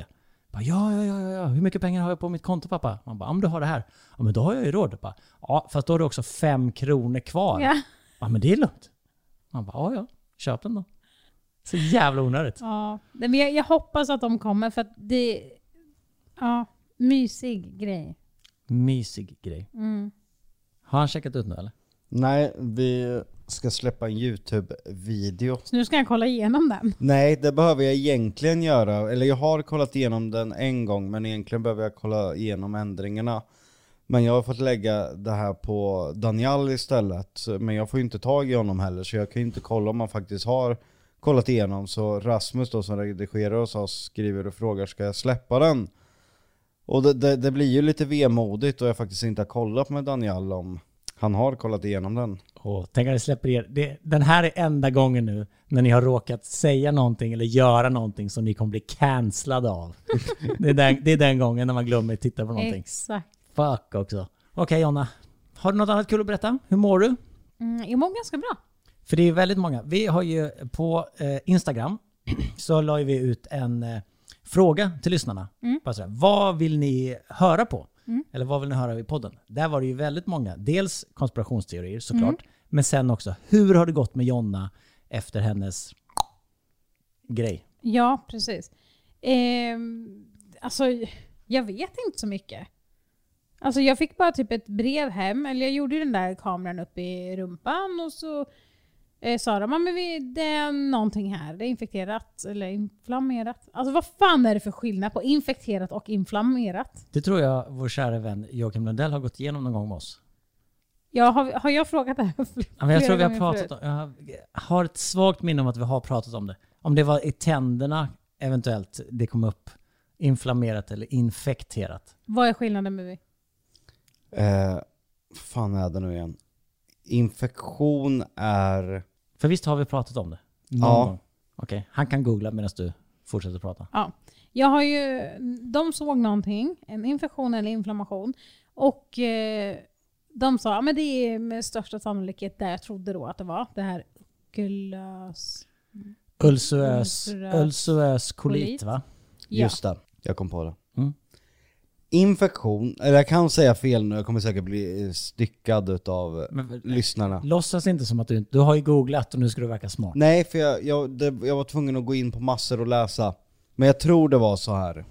Jag Bara, ja, ja, ja, ja, ja, hur mycket pengar har jag på mitt konto pappa? Man bara, ah, men du har det här. Ja, men då har jag ju råd. Jag Bara, ja, fast då har du också fem kronor kvar. Ja, Ja. men det är lugnt. Man bara, ja, ja, köp den då. Så jävla onödigt. ja. Nej, Men jag, jag hoppas att de kommer för att det... Ja, mysig grej. Mysig grej. Har han checkat ut nu eller? Nej, vi ska släppa en YouTube-video. Så nu ska jag kolla igenom den. Nej, det behöver jag egentligen göra. Eller jag har kollat igenom den en gång, men egentligen behöver jag kolla igenom ändringarna. Men jag har fått lägga det här på Daniel istället. Men jag får ju inte tag i honom heller, så jag kan ju inte kolla om han faktiskt har kollat igenom. Så Rasmus då som redigerar hos oss skriver och frågar, ska jag släppa den? Och det, det, det blir ju lite vemodigt och jag faktiskt inte har kollat med Daniel om han har kollat igenom den. Åh, tänk att ni släpper er. Det, den här är enda gången nu när ni har råkat säga någonting eller göra någonting som ni kommer bli cancellade av. det, är den, det är den gången när man glömmer titta Eh. på någonting. Exakt. Fuck också. Okej Jonna, har du något annat kul att berätta? Hur mår du? Mm, jag mår ganska bra. För det är väldigt många. Vi har ju på eh, Instagram så la ju vi ut en eh, fråga till lyssnarna. Bara sådär, vad vill ni höra på? Eller vad vill ni höra i podden? Där var det ju väldigt många. Dels konspirationsteorier såklart. Men sen också, hur har det gått med Jonna efter hennes grej? Ja, precis. Ehm, alltså, jag vet inte så mycket. Alltså jag fick bara typ ett brev hem, eller jag gjorde ju den där kameran upp i rumpan och så eh, sa de "Men vi- det är någonting här, det är infekterat eller inflammerat. Alltså vad fan är det för skillnad på infekterat och inflammerat? Det tror jag vår kära vän Joakim Lundell har gått igenom någon gång med oss. Jag, har, har jag frågat det här fl- Ja, men jag flera tror vi har gånger förut? pratat om, jag har ett svagt minne om att vi har pratat om det. Om det var i tänderna eventuellt det kom upp inflammerat eller infekterat. Vad är skillnaden med vi? Eh, fan är det nu igen? Infektion är... För visst har vi pratat om det? Någon Ja. gång. Okej, han kan googla medan du fortsätter prata. Ja. Jag har ju, de såg någonting, en infektion eller inflammation. Och eh, de sa att det är med största sannolikhet där jag trodde då att det var. Det här ukulös... Ulcerös, Ulcerös ulcerös kolit kolit. va? Ja. Just det, jag kom på det. Mm. Infektion, eller jag kan säga fel nu, jag kommer säkert bli eh, styckad utav Men- lyssnarna. Låtsas inte som att du inte... Du har ju googlat och nu ska du verka smart. Nej, för jag, jag, det, jag var tvungen att gå in på massor och läsa. Men jag tror det var så här.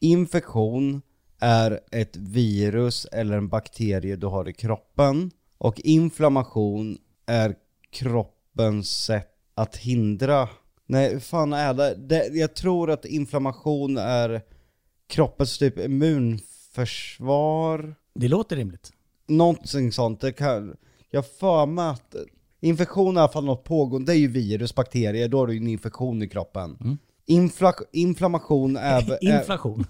Infektion är ett virus eller en bakterie du har i kroppen. Och inflammation är kroppens sätt att hindra... Nej, hur fan är det? det? Jag tror att inflammation är kroppens typ immunförsvar. Det låter rimligt. Någonting sånt. Det kan, jag har för mig att infektion är i alla fall något pågående. Det är ju virus, bakterier, då har du ju en infektion i kroppen. Infla, inflammation är... väl- är- Inflation.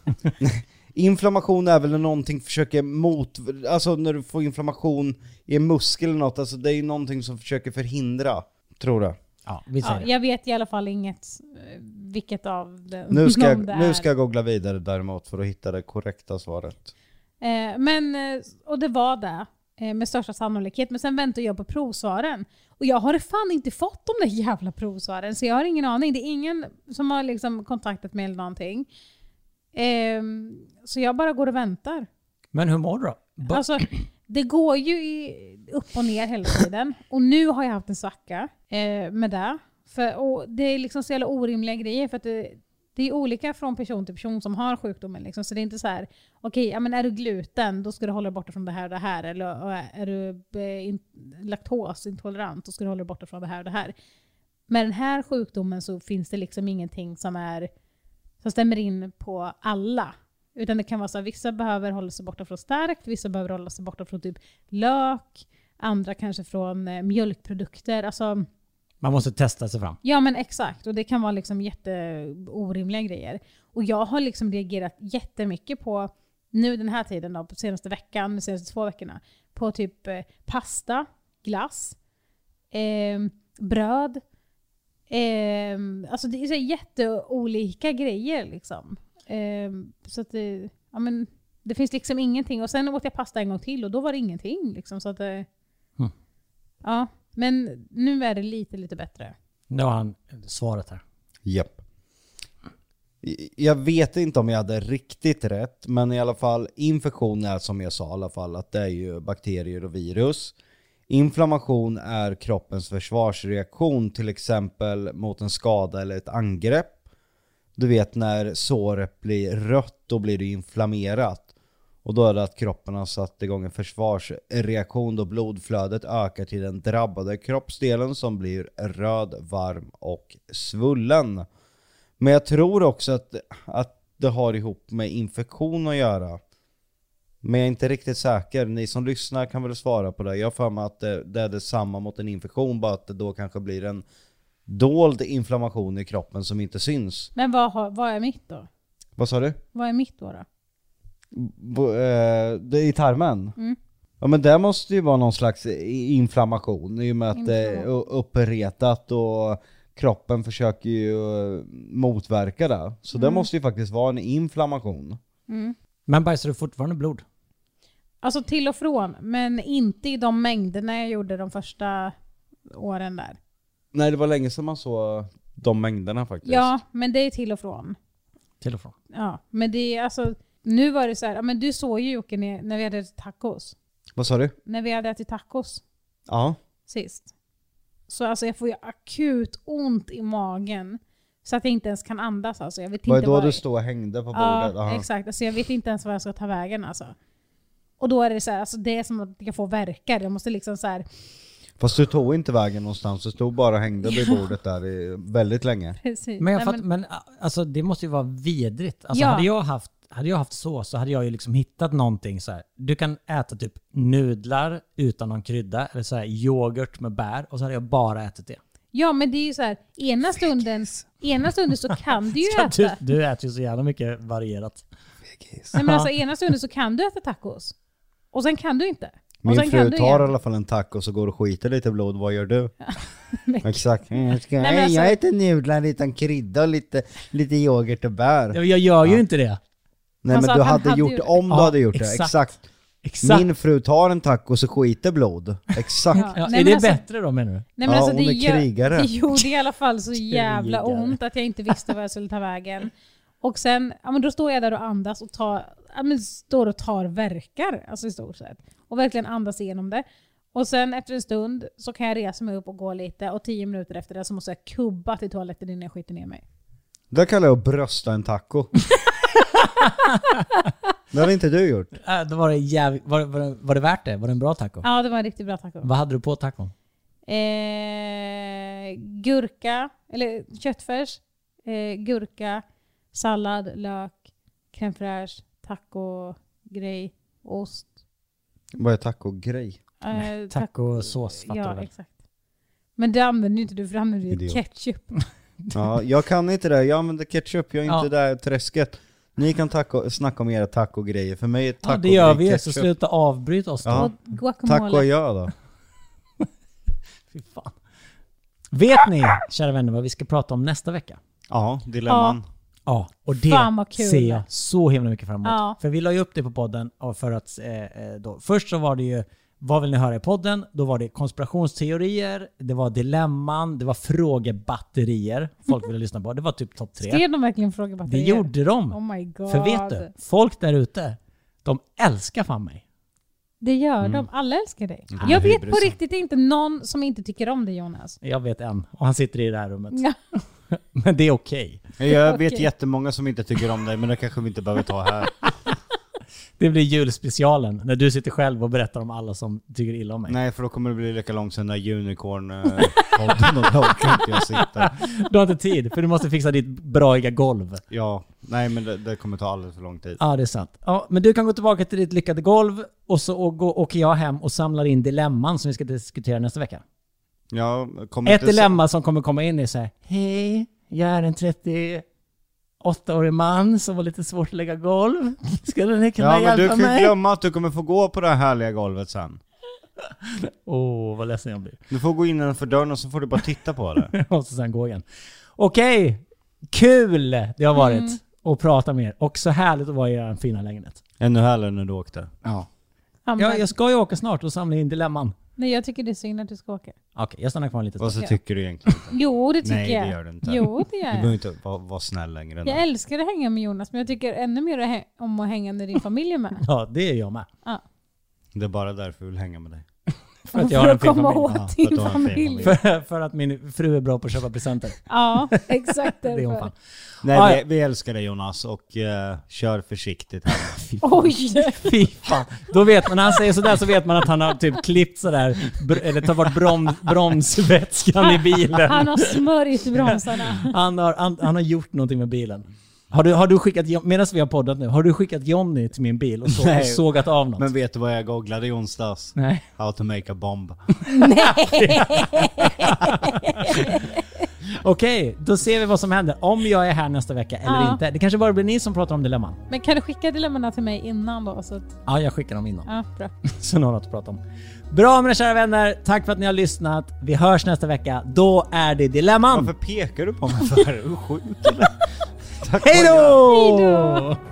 Inflammation är väl när någonting försöker mot... Alltså när du får inflammation i en muskel eller något, alltså det är ju någonting som försöker förhindra, tror jag. ja, vi säger Ja, det. jag vet i alla fall inget, eh, vilket av det, Nu ska, om det jag, är. nu ska jag googla vidare däremot för att hitta det korrekta svaret. Eh, men, eh, och det var det. eh, Med största sannolikhet. Men sen väntar jag på provsvaren. Och jag har fan inte fått de där jävla provsvaren. Så jag har ingen aning. Det är ingen som har liksom kontaktat mig eller någonting. Ehm, så jag bara går och väntar. Men hur mår du då? Ba- Alltså, det går ju i, upp och ner hela tiden. Och nu har jag haft en svacka eh, med det. För, och det är liksom så jävla orimliga grejer. För att det, det är olika från person till person som har sjukdomen. Liksom. Så det är inte så här, okej, ja, men är du gluten, då ska du hålla dig borta från det här och det här. Eller och är du eh, in, laktosintolerant, då ska du hålla dig borta från det här och det här. Med den här sjukdomen så finns det liksom ingenting som, är, som stämmer in på alla. Utan det kan vara så att vissa behöver hålla sig borta från starkt, vissa behöver hålla sig borta från typ lök. Andra kanske från eh, mjölkprodukter. Alltså, Man måste testa sig fram. ja men exakt. Och det kan vara liksom jätteorimliga grejer. Och jag har liksom reagerat jättemycket på, nu den här tiden då, på senaste veckan, de senaste två veckorna, på typ eh, pasta, glass, ehm, bröd. Ehm, alltså det är så här jätteolika grejer liksom. Ehm, så att det, ja men, det finns liksom ingenting. Och sen åt jag pasta en gång till och då var det ingenting. Liksom, så att, eh, Mm. Ja, men nu är det lite, lite bättre. Nu har han svaret här. Japp. I- Jag vet inte om jag hade riktigt rätt, men i alla fall infektion är som jag sa i alla fall att det är ju bakterier och virus. Inflammation är kroppens försvarsreaktion till exempel mot en skada eller ett angrepp. Du vet när såret blir rött, då blir det inflammerat. Och då är det att kroppen har satt igång en försvarsreaktion då blodflödet ökar till den drabbade kroppsdelen som blir röd, varm och svullen. Men jag tror också att, att det har ihop med infektion att göra. Men jag är inte riktigt säker. Ni som lyssnar kan väl svara på det. Jag har för mig att det, det är detsamma mot en infektion, bara att det då kanske blir en dold inflammation i kroppen som inte syns. Men vad, har, vad är mitt då? Vad sa du? Vad är mitt då? då? Bo, eh, det är I tarmen? Mm. Ja men det måste ju vara någon slags i- inflammation i och med att det är u- uppretat och kroppen försöker ju eh, motverka det. Så Mm. det måste ju faktiskt vara en inflammation. Men bajsar du fortfarande blod? Alltså till och från, men inte i de mängderna jag gjorde de första åren där. Nej det var länge sedan man såg de mängderna faktiskt. Ja, men det är till och från. Till och från. Ja, men det är alltså, nu var det så här, ja, men du såg ju Jocke när när vi hade ätit tacos. Vad sa du? När vi hade ätit tacos Ja. sist. Så alltså jag får ju akut ont i magen. Så att jag inte ens kan andas alltså. Jag vet Var inte det då vad- du stod och hängde på bordet? Ja, Aha. exakt. Alltså jag vet inte ens vad jag ska ta vägen alltså. Och då är det så här, alltså det är som att jag får verkar. Jag måste liksom så här, Fast du tog inte vägen någonstans, du stod bara och hängde vid bordet där i väldigt länge. precis. Men, jag Nej, fatt, men... a- alltså, det måste ju vara vidrigt. Alltså, Ja. hade, jag haft, hade jag haft så, så hade jag ju liksom hittat någonting så här. Du kan äta typ nudlar utan någon krydda, eller så här yoghurt med bär, och så hade jag bara ätit det. Ja men det är ju så här, ena stunden, ena stunden så kan du ju Så att Du, äta. du äter ju så jävla mycket varierat. Nej, men alltså, ena stunden så kan du äta tacos. Och sen kan du inte. Och Min sen kan fru du tar i igen. alla fall en taco och så går och skiter lite i blod, vad gör du? Men- Exakt. Mm, jag, ska, Nej, men alltså- jag äter nudlar utan krydda och lite, lite yoghurt och bär. Jag, jag gör ju inte det. Nej men Han sa du att alltså, han hade hade gjort, gjort det. om du Ja, hade gjort det, exakt. exakt. Exakt. Min fru tar en taco och så skiter blod. Exakt. Ja. ja, Nej, är men det alltså- bättre då menar du? Nej, men Ja, alltså, hon det är gör- krigare. Det gjorde i alla fall så jävla Krigare. ont att jag inte visste vad jag skulle ta vägen. Och sen, ja men då står jag där och andas och tar, ja, men står och tar verkar, alltså i stort sett. Och verkligen andas igenom det. Och sen efter en stund så kan jag resa mig upp och gå lite och tio minuter efter det så måste jag kubba till toaletten innan jag skiter ner mig. Det kallar jag att brösta en taco. det hade inte du gjort. Äh, då var, det jäv... var, det- var, det, var det värt det? Var det en bra taco? Ja, det var en riktigt bra taco. Vad hade du på tacon? Eh, gurka, eller köttfärs, eh, gurka, sallad, lök, crème fraîche, taco, grej, ost. Vad är taco-grej? Eh, Tacosås fattar du Ja, väl? exakt. Men det använder ju inte du, för det använder du ju Idiot. ketchup. Ja, jag kan inte det. Jag använder ketchup, jag är Ja. inte där träsket. Ni kan taco, snacka om era taco-grejer. För mig är taco Ja, det gör vi ju, så sluta avbryta oss då. Ja. Och guacamole. Taco jag då. Fy fan. Vet ni, kära vänner, vad vi ska prata om nästa vecka? Ja, dilemman. Ja, och det Fan, vad kul. ser jag så himla mycket fram emot. Ja. För vi la ju upp det på podden och för att eh, eh, då, först så var det ju vad vill ni höra i podden? Då var det konspirationsteorier, det var dilemman, det var frågebatterier folk ville lyssna på. Det var typ topp tre. Skrev de verkligen Det frågebatterier? gjorde de! Oh my god. För vet du, folk där ute, de älskar fan mig. Det gör Mm. de. Alla älskar dig. jag vet på hybrisen. riktigt inte någon som inte tycker om dig Jonas. Jag vet en, och han sitter i det här rummet. Ja. Men det är okej. Jag vet Okej. jättemånga som inte tycker om dig, men det kanske vi inte behöver ta här. Det blir julspecialen, när du sitter själv och berättar om alla som tycker illa om mig. Nej, för då kommer det bli lika långt som den där unicorn-podden och då orkar inte jag sitta. Du har inte tid, för du måste fixa ditt braiga golv. Ja, nej men det, det kommer ta alldeles för lång tid. Ja, det är sant. Ja, men du kan gå tillbaka till ditt lyckade golv och så å- gå- åker jag hem och samlar in dilemman som vi ska diskutera nästa vecka. Ja, kommer Ett inte se- dilemma som kommer komma in är så här. Hej, jag är en 38-årig man som har lite svårt att lägga golv. Skulle ni kunna Ja men du hjälpa kan ju mig? Åh, glömma att du kommer få gå på det här härliga golvet sen. vad ledsen jag blir. Du får gå innanför dörren och så får du bara titta på det. och så sen gå igen. Okej, kul det har varit Mm. att prata med er. Och så härligt att vara i er fina lägenhet. Ännu härligare när du åkte. Ja. Ja, men- Jag, jag ska ju åka snart och samla in dilemman. Nej, jag tycker det är synd att du ska åka. Okej, jag stannar kvar lite. Vad så Ja. tycker du egentligen? Jo, det tycker Nej, det jag. gör du inte. Jo, det Du gör behöver jag. inte vara, vara snäll längre. än Jag det. älskar att hänga med Jonas, men jag tycker ännu mer att hä- om att hänga när din familj är med. Ja, det är jag med. Ja. Det är bara därför vi vill hänga med dig. För att jag har en fin komma familj. Ja, åt för din att du har en fin familj. familj. För, för att min fru är bra på att köpa presenter. Ja, exakt Det är hon fan. därför. Ah, Nej, ja. vi, vi älskar dig Jonas och eh, kör försiktigt här. Oj! Fy fan. Då vet man, när han säger sådär så vet man att han har typ klippt sådär, br- eller tagit bort brom, bromsvätskan i bilen. Han har smörjt bromsarna. Han har, han, han har gjort någonting med bilen. Har du, har du skickat, medan vi har poddat nu, har du skickat Jonny till min bil och, så, och Nej. sågat av något? Men vet du vad jag googlade i onsdags? Nej. How to make a bomb. Okej, då ser vi vad som händer. Om jag är här nästa vecka eller Ja. inte. Det kanske bara blir ni som pratar om dilemman. Men kan du skicka dilemmana till mig innan då? Så att, Ja, jag skickar dem innan. ja, bra. Så något att prata om. Bra mina kära vänner, tack för att ni har lyssnat. Vi hörs nästa vecka. Då är det Dilemman. Varför pekar du på mig för? Är du sjuk eller? Tack Hej och adjö. då!